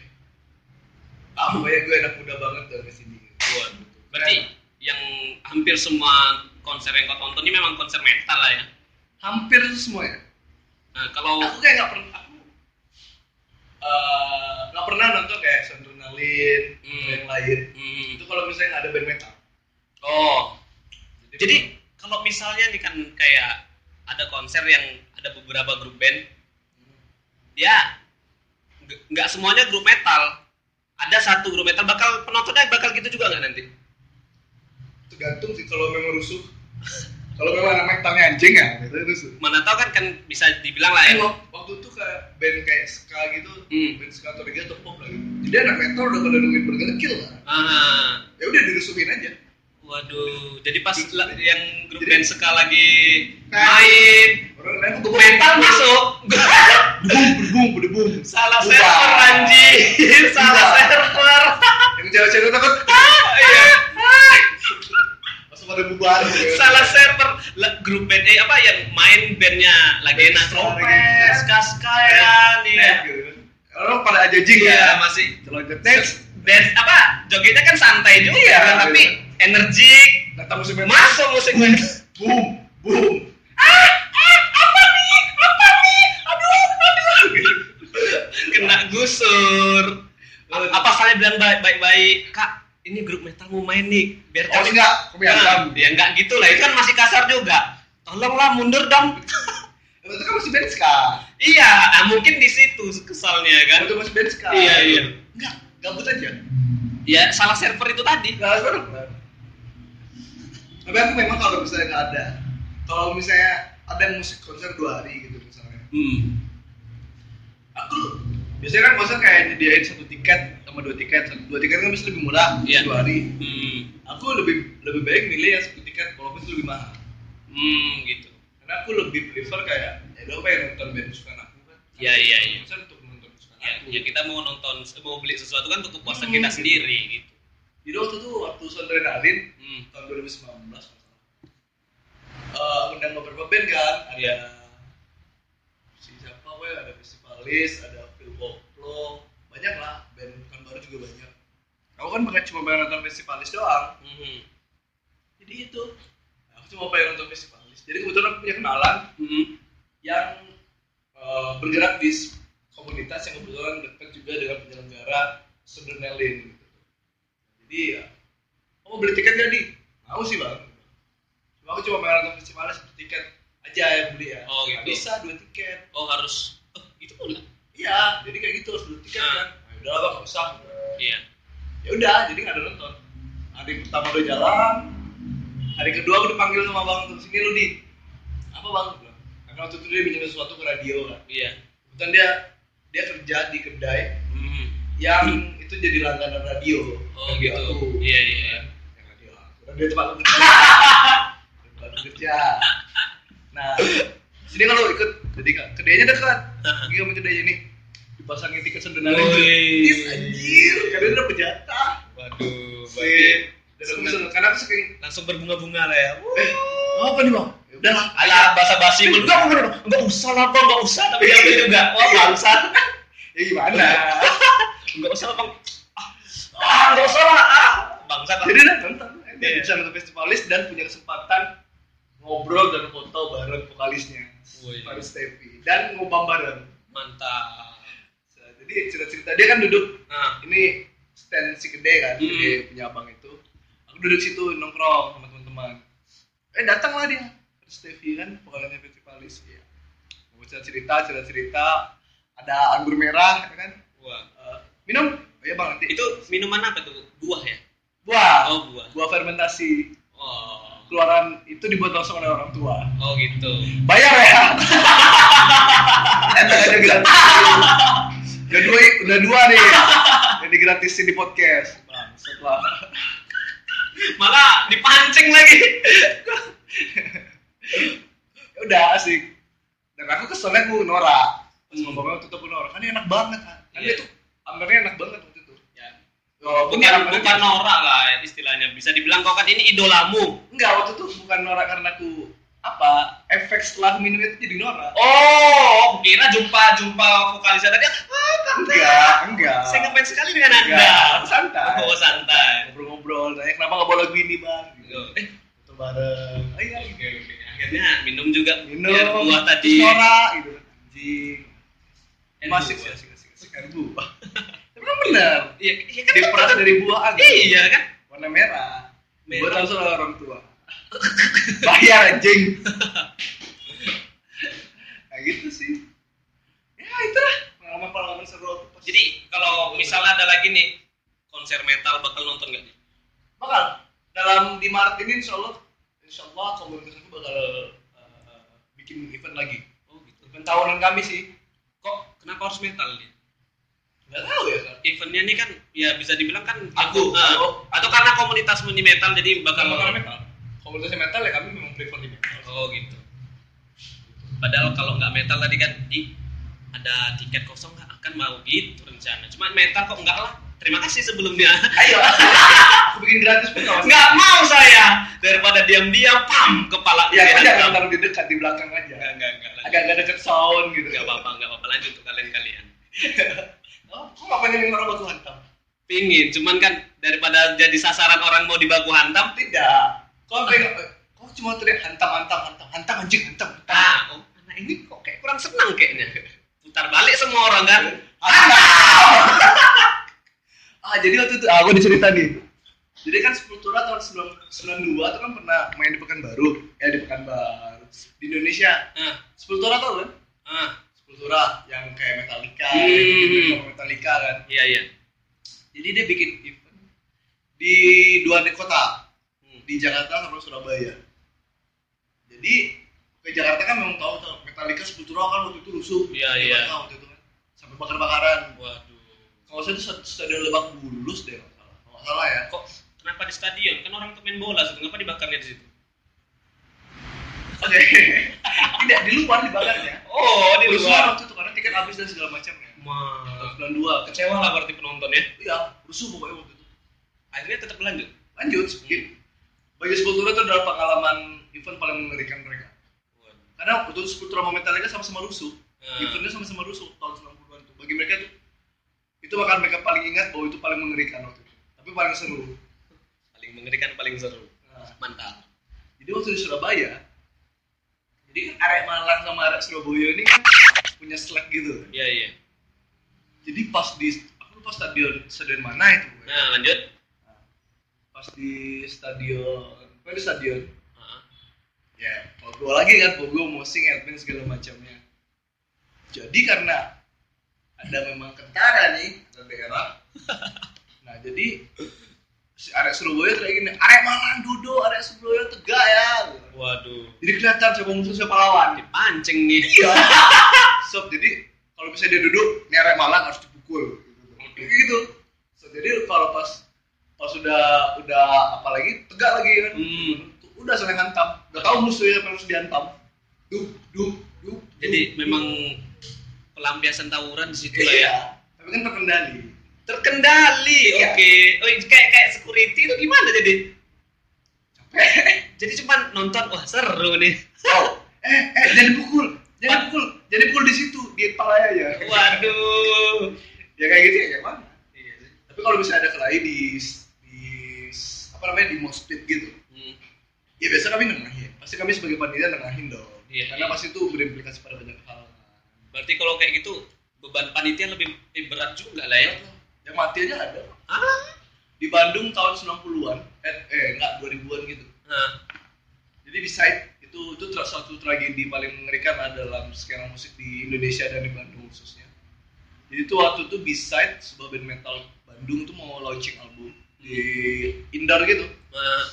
A: apa ya gue anak muda banget tuh kesini.
B: Waduh. Berarti yang hampir semua konser yang kau tonton ini memang konser metal lah ya.
A: Hampir semua ya.
B: Nah, kalau
A: aku kayak nggak pernah aku eh, nggak pernah nonton kayak Sandronalin
B: Hmm.
A: atau yang lain
B: hmm,
A: itu kalau misalnya nggak ada band metal
B: oh, jadi kalau misalnya nih kan kayak ada konser yang ada beberapa grup band, ya nggak- nggak semuanya grup metal. Ada satu grup metal bakal penontonnya bakal gitu juga nggak nanti?
A: tergantung sih kalau memang rusuh kalau memang anak metalnya anjing ya itu rusuh
B: mana tahu kan kan bisa dibilang lah ya.
A: Kan wak- waktu itu kayak band kayak ska gitu
B: Hmm.
A: band ska atau reggae atau pop lagi jadi anak metal udah pada nungguin burger kill lah
B: Ah,
A: ya udah dirusuhin aja
B: waduh. Jadi pas la- yang grup band Ska lagi
A: Nah.
B: main
A: orang lain tuh
B: metal masuk.
A: berdebum berdebum berdebum
B: salah
A: Bubar.
B: server anjir, salah
A: Bubar.
B: server.
A: yang cewek-cewek takut
B: Iya.
A: langsung pada bubar gitu.
B: salah server Lah, grup band eh apa yang main bandnya lagi
A: Ska
B: enak trompet,
A: lagi.
B: ska ska kan
A: Next,
B: iya.
A: gitu kan. orang pada aja jing
B: Iya,
A: ya
B: masih
A: Celonjat next
B: dance apa? Jogetnya kan santai juga
A: Iya,
B: kan, tapi energik.
A: kata musim
B: Masuk musik band.
A: boom boom Ah,
B: kena gusur A- apa saya bilang baik- baik-baik kak ini grup metal mau main nih biar
A: oh enggak kami hantam
B: Nah, ya enggak gitu lah itu kan masih kasar juga tolonglah mundur dong
A: itu kan masih band ska
B: iya ah, mungkin di situ kesalnya kan
A: itu masih band ska
B: Iya, iya.
A: enggak gabut aja
B: ya salah server itu tadi
A: nggak harus bareng tapi aku memang kalau misalnya nggak ada kalau misalnya ada musik konser dua hari gitu misalnya
B: hmm.
A: aku biasanya kan konser kayak nyediain satu tiket sama dua tiket Satu- dua tiket kan bisa lebih murah
B: Iya.
A: dua hari
B: hmm
A: aku lebih lebih baik milih yang satu tiket walaupun itu lebih mahal
B: hmm gitu
A: karena aku lebih prefer kayak ya udah pengen nonton band kesukaan aku kan
B: Iya, iya, iya.
A: Konser untuk nonton kesukaan
B: ya,
A: aku
B: ya kita mau nonton mau beli sesuatu kan untuk kepuasan
A: Hmm.
B: kita sendiri gitu
A: jadi waktu itu waktu Sondrenalin
B: hmm.
A: tahun 2019 kalau nggak salah Eh, undang beberapa band kan ada
B: Iya.
A: si siapa weh ada festivalis ada Phil Boplo banyak lah band kan baru juga banyak aku kan pengen cuma pengen nonton festivalis doang
B: Hmm.
A: jadi itu aku cuma pengen nonton festivalis jadi kebetulan aku punya kenalan
B: Hmm.
A: yang eh, bergerak di s- komunitas komunitas yang kebetulan dekat juga dengan penyelenggara Sundernelin gitu. Jadi ya, oh beli tiket gak di? Mau sih bang. Cuma aku cuma pengen nonton festivalnya satu tiket aja yang beli ya.
B: Oh, gitu.
A: Nggak bisa dua tiket.
B: oh harus oh, gitu pula
A: Iya, jadi kayak gitu harus dua tiket
B: Ah.
A: kan. Nah, udah lah bang, nggak usah.
B: iya
A: Ya udah, jadi nggak ada nonton. Hari pertama udah jalan, hari kedua aku dipanggil sama bang untuk sini lu di. Apa bang? Aku bilang, Karena waktu itu dia minjem sesuatu ke radio kan.
B: iya
A: Kebetulan dia dia kerja di kedai
B: hmm.
A: yang itu jadi langganan radio.
B: oh
A: Radio
B: gitu
A: aku.
B: iya iya iya.
A: Yang radio aku. Dan dia tempat aku kerja. tempat aku kerja. Nah, sini kalau ikut jadi ke- kedainya dekat. Pergi sama kedainya nih. Dipasangin tiket sendenan
B: Uh-huh. Woi.
A: aja. Is anjir, karena udah berjata.
B: waduh
A: Sip.
B: berarti
A: Dan aku seneng, karena aku sering
B: langsung berbunga-bunga lah ya Wuh.
A: eh, apa nih bang? Ya Udah lah,
B: Alah, basa-basi
A: Enggak, enggak,
B: menurut
A: enggak,
B: Enggak usah lah, Bang. Enggak usah, tapi diambil juga. Wah, bangsat.
A: Oh, Ya gimana?
B: Enggak usah, Bang. Ah, Ah, enggak usah lah. Ah, bangsat.
A: Jadi udah nonton. Dia
B: Iya.
A: bisa nonton festivalis dan punya kesempatan ngobrol dan foto bareng vokalisnya.
B: Woi.
A: Baru Stevie. Dan ngobam bareng.
B: Mantap.
A: Jadi cerita-cerita dia kan duduk
B: Nah,
A: ini stand si gede kan, si
B: Hmm.
A: gede punya abang itu. Aku duduk situ nongkrong sama teman-teman. Eh datanglah dia, terus Stevie kan pokoknya festivalis ya. Mau cerita cerita cerita, ada anggur merah ya kan.
B: wah.
A: Eh, minum, oh, iya bang nanti.
B: Itu minuman apa tuh? Buah ya?
A: buah,
B: Oh, buah.
A: buah fermentasi
B: Oh.
A: keluaran itu dibuat langsung oleh orang tua.
B: Oh, gitu.
A: Bayar ya. Enak aja gratis. Udah dua, udah dua nih yang digratisin di podcast. Bang, setelah
B: Malah dipancing lagi.
A: Ya udah asik dan aku keselnya gue Nora pas
B: Hmm.
A: ngomongnya waktu itu aku Nora kan dia enak banget kan kan
B: Iya.
A: dia tuh ambernya enak banget waktu itu
B: Ya.
A: walaupun
B: Bukan
A: orang-
B: bukan norak lah istilahnya. Bisa dibilang kau kan ini idolamu.
A: enggak waktu itu bukan Nora karena aku apa efek setelah minum itu jadi Nora
B: Oh, kira jumpa jumpa vokalisnya tadi. Ah,
A: enggak enggak
B: Saya ngefans sekali dengan Anda.
A: enggak santai
B: Oh, santai.
A: ngobrol-ngobrol tanya kenapa nggak bawa lagu ini bang gitu
B: Eh,
A: Foto bareng oh iya
B: Oke, oke. Akhirnya minum juga
A: minum
B: biar buah tadi.
A: terus Nora gitu anjing
B: Air
A: masih sih
B: buah.
A: asik asik asik air buah tapi kan bener
B: Iya, iya kan
A: diperas dari buah agak
B: Iya kan?
A: warna merah.
B: Merah.
A: Buat langsung oleh orang tua. Bayar anjing. nah gitu sih. Ya itulah pengalaman-pengalaman seru aku pas-
B: Jadi kalau misalnya ada lagi nih konser metal bakal nonton nggak nih?
A: bakal dalam di Maret ini insya Allah insya Allah komunitas aku bakal eh, bikin event lagi.
B: Oh gitu.
A: Event tahunan kami sih.
B: Kok kenapa harus metal nih?
A: Gak tahu ya kan.
B: Eventnya nih kan ya bisa dibilang kan
A: Aku,
B: eh,
A: aku.
B: atau karena komunitasmu di metal jadi bakal
A: Kalau karena metal, komunitas metal ya kami memang prefer di metal.
B: Oh gitu. Padahal kalau nggak metal tadi kan di ada tiket kosong nggak akan mau gitu rencana. Cuma metal kok nggak lah. Terima kasih sebelumnya.
A: Ayo, aku bikin gratis pun nggak masalah.
B: Nggak mau saya daripada diam-diam pam kepala
A: Ya, kan
B: dihantam.
A: jangan taruh di dekat di belakang
B: Nggak,
A: aja.
B: nggak, nggak, lanjut.
A: Agak-agak deket sound gitu.
B: nggak apa-apa nggak apa-apa lanjut tuh kalian kalian
A: Oh, kok nggak pengen orang batu hantam?
B: pingin cuman kan daripada jadi sasaran orang mau dibaku hantam
A: Tidak. Kok pengen? Kok cuma teriak hantam, hantam, hantam, hantam anjing, hantam. hantam.
B: ah oh, anak ini kok kayak kurang senang kayaknya putar balik semua orang kan
A: Ah, jadi waktu itu ah, aku dicerita nih. Jadi kan Sepultura tahun 92 itu kan pernah main di Pekanbaru. Ya di Pekanbaru. Di Indonesia.
B: ah
A: Sepultura tau kan?
B: ah
A: Sepultura yang kayak Metallica,
B: Hmm.
A: gitu, Metallica kan.
B: iya iya
A: Jadi dia bikin event di dua kota.
B: Hmm.
A: di Jakarta sama Surabaya. Jadi ke Jakarta kan memang tahu tuh Metallica Sepultura kan waktu itu rusuh.
B: Iya,
A: Di
B: iya.
A: Jakarta Waktu itu kan sampai bakar-bakaran.
B: waduh
A: Kalau saya itu stad- stadion Lebak Bulus deh kalau salah. Kalau nggak salah ya.
B: kok kenapa di stadion kan orang tuh main bola situ kenapa dibakarnya di situ
A: Oke. Tidak di luar dibakarnya.
B: oh di
A: Rusuhan
B: luar
A: waktu itu karena tiket habis dan segala macamnya. Tahun 92
B: Wah,
A: kecewa.
B: kecewa lah berarti penonton ya
A: Iya, rusuh pokoknya waktu itu.
B: akhirnya tetap lanjut
A: Lanjut, skip. Bagi Sepultura itu adalah pengalaman event paling mengerikan mereka.
B: Waduh.
A: Karena waktu itu Sepultura sama Metallica sama-sama rusuh.
B: Ah.
A: Eventnya sama-sama rusuh tahun 90-an tuh. Bagi mereka tuh itu bakal mereka paling ingat bahwa itu paling mengerikan waktu itu. Tapi paling seru.
B: paling mengerikan paling seru
A: Nah,
B: mantap
A: jadi waktu di Surabaya, jadi kan arek Malang sama arek Surabaya ini kan punya slack gitu.
B: iya iya
A: jadi pas di aku lupa stadion stadion mana itu gue.
B: Nah, lanjut.
A: pas di stadion gue di stadion
B: Heeh.
A: ya Pogo lagi kan Pogo mosing Elvin segala macamnya jadi karena ada memang kentara nih ke daerah nah jadi si arek Surabaya kayak gini arek Malang Dodo arek Surabaya tegak ya
B: Waduh.
A: jadi kelihatan siapa musuh siapa lawan
B: Dipancing nih.
A: iya sob jadi kalau misalnya dia duduk ini arek Malang harus dipukul Kayak gitu so, jadi kalau pas pas sudah udah apalagi tegak lagi kan
B: Hmm.
A: udah saling hantam udah tahu musuhnya apa yang harus dihantam duh duh duh
B: Jadi
A: duh,
B: memang
A: duh.
B: pelampiasan tawuran di situ lah
A: iya
B: ya.
A: tapi kan terkendali
B: Terkendali.
A: Iya.
B: Oke. Oh, kayak kayak security itu gimana jadi? Jadi cuman nonton wah seru nih.
A: oh eh eh jangan pukul jangan
B: Pat-
A: pukul jangan pukul di situ di palanya ya
B: Waduh.
A: ya kayak gitu ya kayak mana
B: Iya sih.
A: tapi kalau misalnya ada kelahi di di apa namanya di mospit gitu
B: Hmm.
A: ya biasa kami nengahin pasti kami sebagai panitia nengahin dong
B: Iya,
A: karena
B: iya.
A: pasti itu berimplikasi pada banyak hal
B: Berarti kalau kayak gitu beban panitia lebih lebih berat juga lah ya.
A: yang mati aja ada
B: Ah.
A: di Bandung tahun 90-an eh, eh enggak 2000-an gitu
B: Nah,
A: Jadi beside itu itu tra- satu tragedi paling mengerikan adalah dalam skena musik di Indonesia dan di Bandung khususnya. Jadi itu waktu itu beside sebuah band metal Bandung tuh mau launching album di indoor gitu,
B: nah,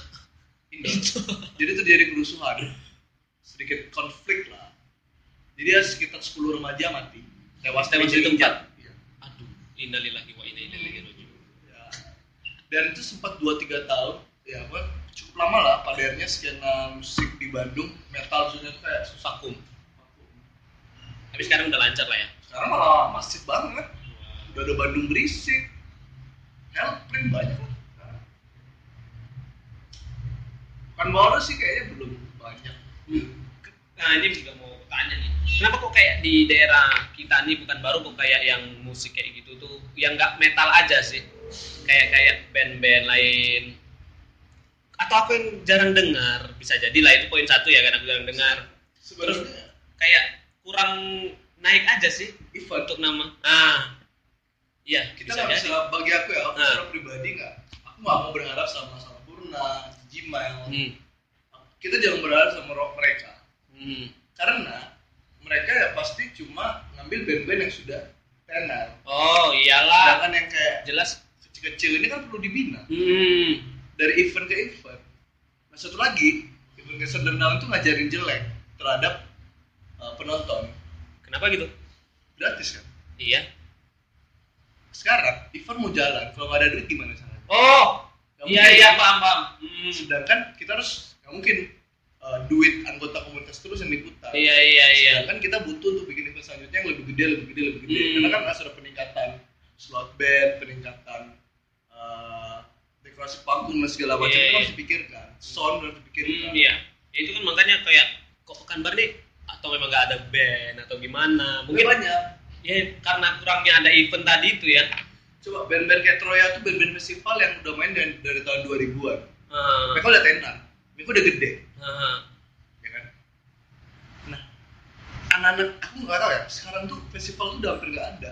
A: indoor. Gitu. Jadi itu jadi kerusuhan, sedikit konflik lah. Jadi ada sekitar 10 remaja mati, tewas
B: Tewas di tempat?
A: Iya.
B: aduh, innalillahi wa inna ilaihi rajiun.
A: Ya. Dan itu sempat 2-3 tahun, ya apa, cukup lama lah padernya skena musik di Bandung, metal khususnya tuh kayak susah
B: Vakum. Tapi sekarang udah lancar lah ya.
A: sekarang malah masif banget udah ada Bandung berisik Helprin banyak lah sekarang. kan baru sih kayaknya belum banyak
B: Nah, ini juga mau tanya nih. Kenapa kok kayak di daerah kita nih bukan baru kok kayak yang musik kayak gitu tuh yang nggak metal aja sih. Kayak kayak band-band lain. Atau aku yang jarang dengar, bisa jadi lah itu poin satu ya karena aku jarang dengar.
A: sebenarnya
B: Kayak kurang naik aja sih
A: Ivan
B: untuk nama. Ah. Iya,
A: kita
B: bisa
A: nggak
B: jadi.
A: bisa bagi aku ya aku
B: Nah.
A: secara pribadi nggak aku nggak mau berharap sama Sampurna Gmail
B: Hmm.
A: kita jangan berharap sama rock mereka
B: Hmm.
A: karena mereka ya pasti cuma ngambil band-band yang sudah tenar
B: Oh, iyalah.
A: sedangkan yang kayak
B: Jelas.
A: kecil-kecil ini kan perlu dibina
B: Hmm.
A: dari event ke event. Nah satu lagi, event ke Sunderland itu ngajarin jelek terhadap uh, penonton.
B: Kenapa gitu?
A: Gratis kan?
B: Iya.
A: Sekarang, event mau jalan, kalau nggak ada duit gimana caranya?
B: Oh,
A: Nggak
B: iya
A: mungkin.
B: iya paham paham. Hmm.
A: Sedangkan kita harus, nggak mungkin uh, duit anggota komunitas terus yang diputar.
B: Iya iya iya.
A: Sedangkan kita butuh untuk bikin event selanjutnya yang lebih gede, lebih gede, lebih gede.
B: Hmm.
A: Karena kan harus ada peningkatan slot band, peningkatan uh, dekorasi panggung dan segala macam.
B: Iya,
A: Itu
B: iya.
A: harus dipikirkan. Sound harus dipikirkan.
B: Hmm, iya. Ya, itu kan makanya kayak kok Pekanbaru nih atau memang nggak ada band atau gimana?
A: Mungkin
B: Mungkin
A: banyak.
B: ya karena kurangnya ada event tadi itu ya.
A: Coba band-band kayak Troya tuh band-band festival yang udah main dari, dari tahun 2000-an.
B: Ah,
A: Mereka udah tenar, mereka udah gede,
B: ah.
A: ya kan? Nah, anak-anak aku nggak tahu ya. Sekarang tuh festival tuh udah hampir nggak ada.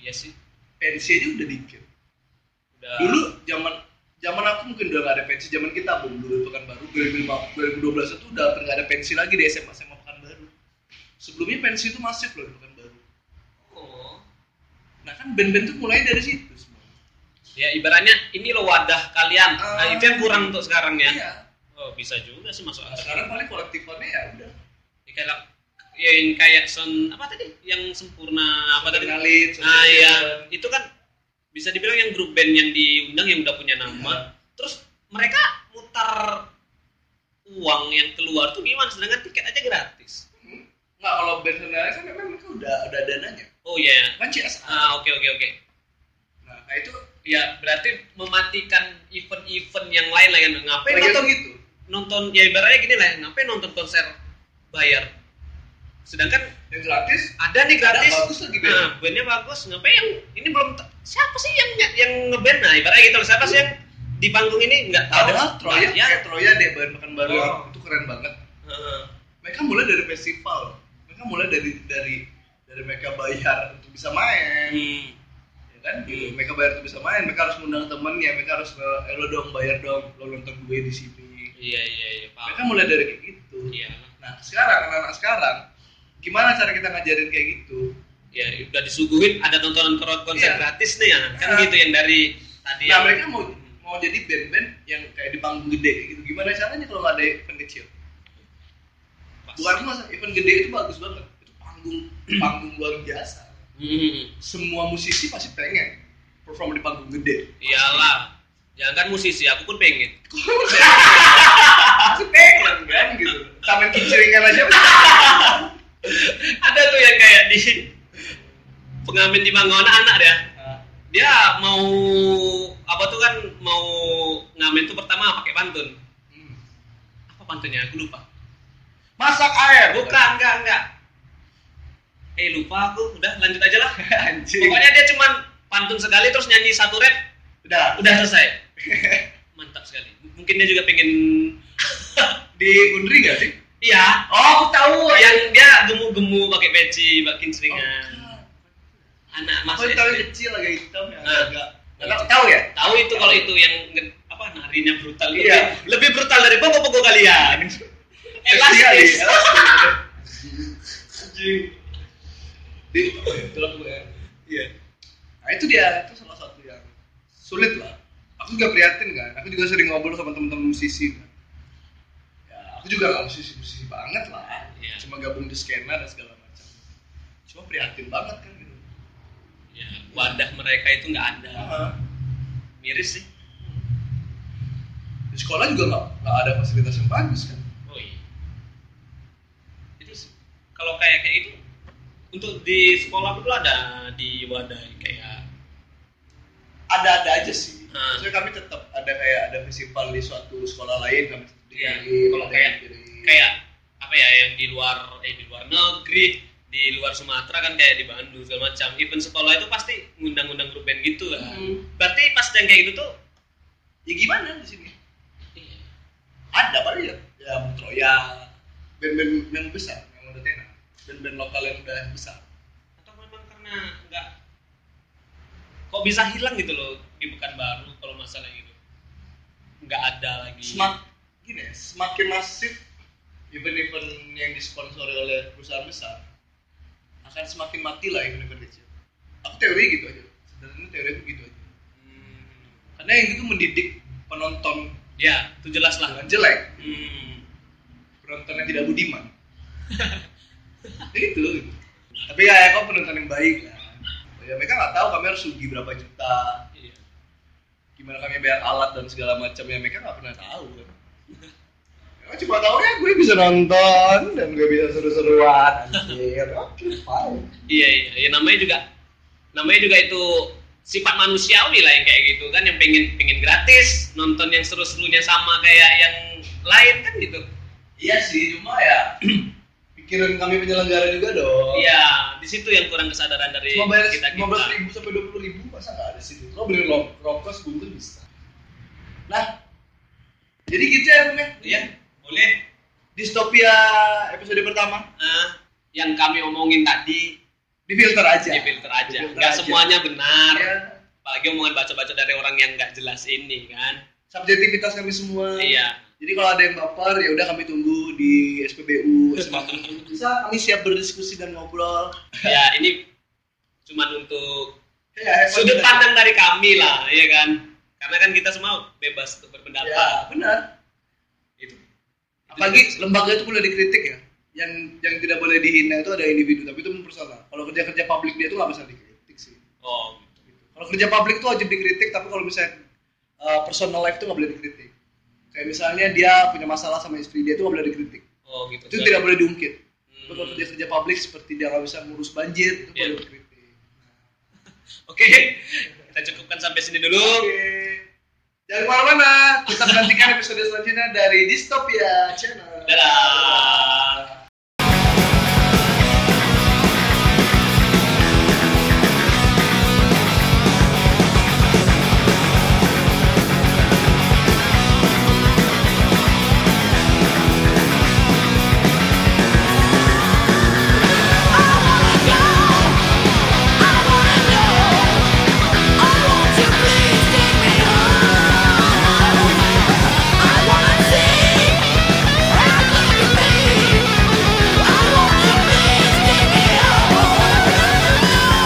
B: Iya sih.
A: Pensi aja udah dikit.
B: Iya. Udah.
A: Dulu zaman zaman aku mungkin udah nggak ada pensi, zaman kita belum dulu pekan baru 2012 itu udah hampir nggak ada pensi lagi di SMA SMA pekan baru. Sebelumnya pensi itu masif loh di pekan baru.
B: Oh.
A: Nah kan band-band tuh mulai dari situ semua.
B: Ya ibaratnya ini loh wadah kalian. Nah,
A: Ah.
B: itu yang kurang untuk sekarang ya.
A: Iya.
B: Oh, bisa juga sih masuk
A: Nah,
B: akal.
A: sekarang paling kolektifannya ya udah.
B: Ya, kayak ya, yang kayak son apa tadi? Yang sempurna apa tadi?
A: Ngalit,
B: Nah iya, itu kan bisa dibilang yang grup band yang diundang yang udah punya nama, terus mereka mutar uang yang keluar tuh gimana? Sedangkan tiket aja gratis.
A: Hmm? Nggak, kalau band sebenarnya kan memang mereka udah ada dananya.
B: Oh iya.
A: Kan CSR.
B: Ah oke oke oke.
A: Nah, nah itu
B: Ya berarti mematikan event-event yang lain lah kan ngapain
A: lagi
B: nonton
A: atau gitu.
B: nonton ya ibaratnya gini lah ngapain nonton konser bayar sedangkan
A: Yang gratis
B: ada nih gratis
A: Ada bagus lagi band.
B: nah bandnya bagus ngapain yang ini belum ta- siapa sih yang yang ngeband nah ibaratnya gitu loh siapa sih yang di panggung ini nggak tahu
A: padahal Troya
B: ya
A: kayak Troya deh bahan makan baru
B: Oh.
A: itu keren banget. Mereka mulai dari festival. Mereka mulai dari dari dari mereka bayar untuk bisa main
B: Hmm.
A: ya kan gitu mereka bayar untuk bisa main mereka harus ngundang temennya mereka harus eh, eh, lo dong bayar dong lo nonton gue di sini
B: Iya iya iya
A: mereka
B: paham.
A: mulai dari kayak gitu
B: Iya.
A: nah sekarang anak-anak sekarang gimana cara kita ngajarin kayak gitu
B: Ya udah disuguhin ada tontonan kro- konser
A: Iya.
B: gratis nih ya. Kan
A: Ah.
B: gitu yang dari tadi
A: nah
B: yang-
A: mereka mau mau jadi band-band yang kayak di panggung gede kayak gitu gimana caranya kalau nggak ada event kecil
B: Pas.
A: bukan masa event gede itu bagus banget itu panggung panggung luar biasa
B: Hmm.
A: semua musisi pasti pengen perform di panggung gede
B: Iyalah. Jangan musisi, aku pun pengen.
A: pasti pengen kan gitu taman kinceringan aja
B: ada tuh yang kayak di pengamen di Mangona anak dia dia mau apa tuh kan mau ngamen tuh pertama pakai pantun
A: Hmm.
B: apa pantunnya aku lupa
A: masak air
B: bukan enggak enggak eh lupa aku udah lanjut aja lah
A: anjing
B: pokoknya dia cuman pantun sekali terus nyanyi satu rap
A: udah
B: udah selesai mantap sekali M- mungkin dia juga pengen
A: di undri nggak sih
B: iya
A: oh aku tahu
B: yang dia gemu-gemu pakai peci pakai
A: oh,
B: kinceringan anak
A: aku
B: masuk
A: yang tahu yang
B: SD.
A: kecil agak hitam yang
B: Nah.
A: agak nggak tahu ya
B: Tahu itu kalau itu yang nge- apa narinya brutal gitu lebih,
A: Iya.
B: lebih brutal dari bobo-bobo kalian. ya.
A: Iya, iya,
B: Elastis.
A: elastis. Anjing. Di apa ya? Dalam gue ya. Iya. Nah itu dia, itu salah satu yang sulit lah. Aku juga prihatin kan, aku juga sering ngobrol sama teman-teman musisi. Kan. Ya, aku juga nggak musisi-musisi banget lah.
B: Iya.
A: Cuma gabung di skena dan segala macam. Cuma prihatin banget kan gitu.
B: Ya, wadah mereka itu nggak ada.
A: Nah,
B: Miris sih.
A: di sekolah juga nggak nggak ada fasilitas yang bagus kan.
B: Oh iya. Itu sih. kalau kayak kayak itu untuk di sekolah aku dulu ada di wadah kayak
A: Ada-ada aja sih.
B: Ah.
A: Maksudnya kami tetap ada kayak ada festival di suatu sekolah lain kami tetap
B: Iya,
A: dikirim,
B: kalau
A: ada
B: kayak-
A: yang kirim.
B: kayak apa ya yang di luar eh di luar negeri di luar Sumatera kan kayak di Bandung segala macam event sekolah itu pasti ngundang-ngundang grup band gitu kan
A: Hmm.
B: berarti pas yang kayak gitu tuh
A: ya gimana di sini
B: Iya.
A: ada paling ya ya Troya band-band yang besar yang udah tenar band-band lokal yang udah besar
B: atau memang karena nggak kok bisa hilang gitu loh di Pekanbaru kalau masalah itu nggak ada lagi
A: semak gini ya semakin masif event-event yang disponsori oleh perusahaan besar akan semakin mati lah event-event kecil aku teori gitu aja sederhana teori aku gitu aja
B: Hmm,
A: karena yang itu mendidik penonton
B: ya itu jelas lah
A: dengan jelek
B: Hmm,
A: penonton yang tidak budiman itu gitu. tapi ya ya, kok penonton yang baik lah ya mereka nggak tahu kami harus rugi berapa juta
B: iya.
A: gimana kami bayar alat dan segala macam ya mereka nggak pernah tahu kan Mereka cuma tahu ya gue bisa nonton dan gue bisa seru-seruan anjir oke fine
B: iya iya ya, namanya juga namanya juga itu sifat manusiawi lah yang kayak gitu kan yang pengen pengen gratis nonton yang seru-serunya sama kayak yang lain kan gitu
A: iya sih cuma ya pikiran kami penyelenggara juga dong
B: Iya, di situ yang kurang kesadaran dari
A: cuma bayar
B: kita
A: lima belas ribu sampai dua puluh ribu masa nggak ada sih lo beli lo rokok sebungkus bisa nah jadi gitu ya Bung, ya
B: Iya, boleh.
A: distopia episode pertama
B: Nah, yang kami omongin tadi
A: difilter aja
B: difilter aja.
A: Difilter Iya.
B: Nggak
A: aja.
B: semuanya benar.
A: Ya,
B: Apalagi omongan baca-baca dari orang yang nggak jelas ini kan.
A: subjektivitas kami semua
B: Iya.
A: Jadi kalau ada yang baper ya udah kami tunggu di SPBU SPBU. Bisa kami siap berdiskusi dan ngobrol.
B: Ya, ini cuman untuk
A: Ya, hebat
B: sudut
A: kita.
B: pandang dari kami lah, ya kan? Karena kan kita semua bebas untuk
A: Ya,
B: berpendapat. gitu.
A: benar.
B: Itu.
A: Apalagi lembaga itu boleh dikritik ya. Yang yang tidak boleh dihina itu ada individu, tapi itu mempersatukan. Kalau kerja-kerja publik dia itu nggak bisa dikritik sih.
B: oh, gitu.
A: Kalau kerja publik itu wajib dikritik, tapi kalau misalnya uh, personal life itu nggak boleh dikritik. Kayak misalnya dia punya masalah sama istri dia itu nggak boleh dikritik.
B: Oh, gitu.
A: Itu tidak boleh diungkit.
B: Hmm.
A: Tapi kalau kerja-kerja publik seperti dia nggak bisa ngurus banjir itu
B: Iya.
A: boleh dikritik. Nah,
B: Oke. Kita cukupkan sampai sini dulu.
A: Oke. Jangan kemana-mana, tetap nantikan episode selanjutnya dari Dystopia Channel.
B: Dadah.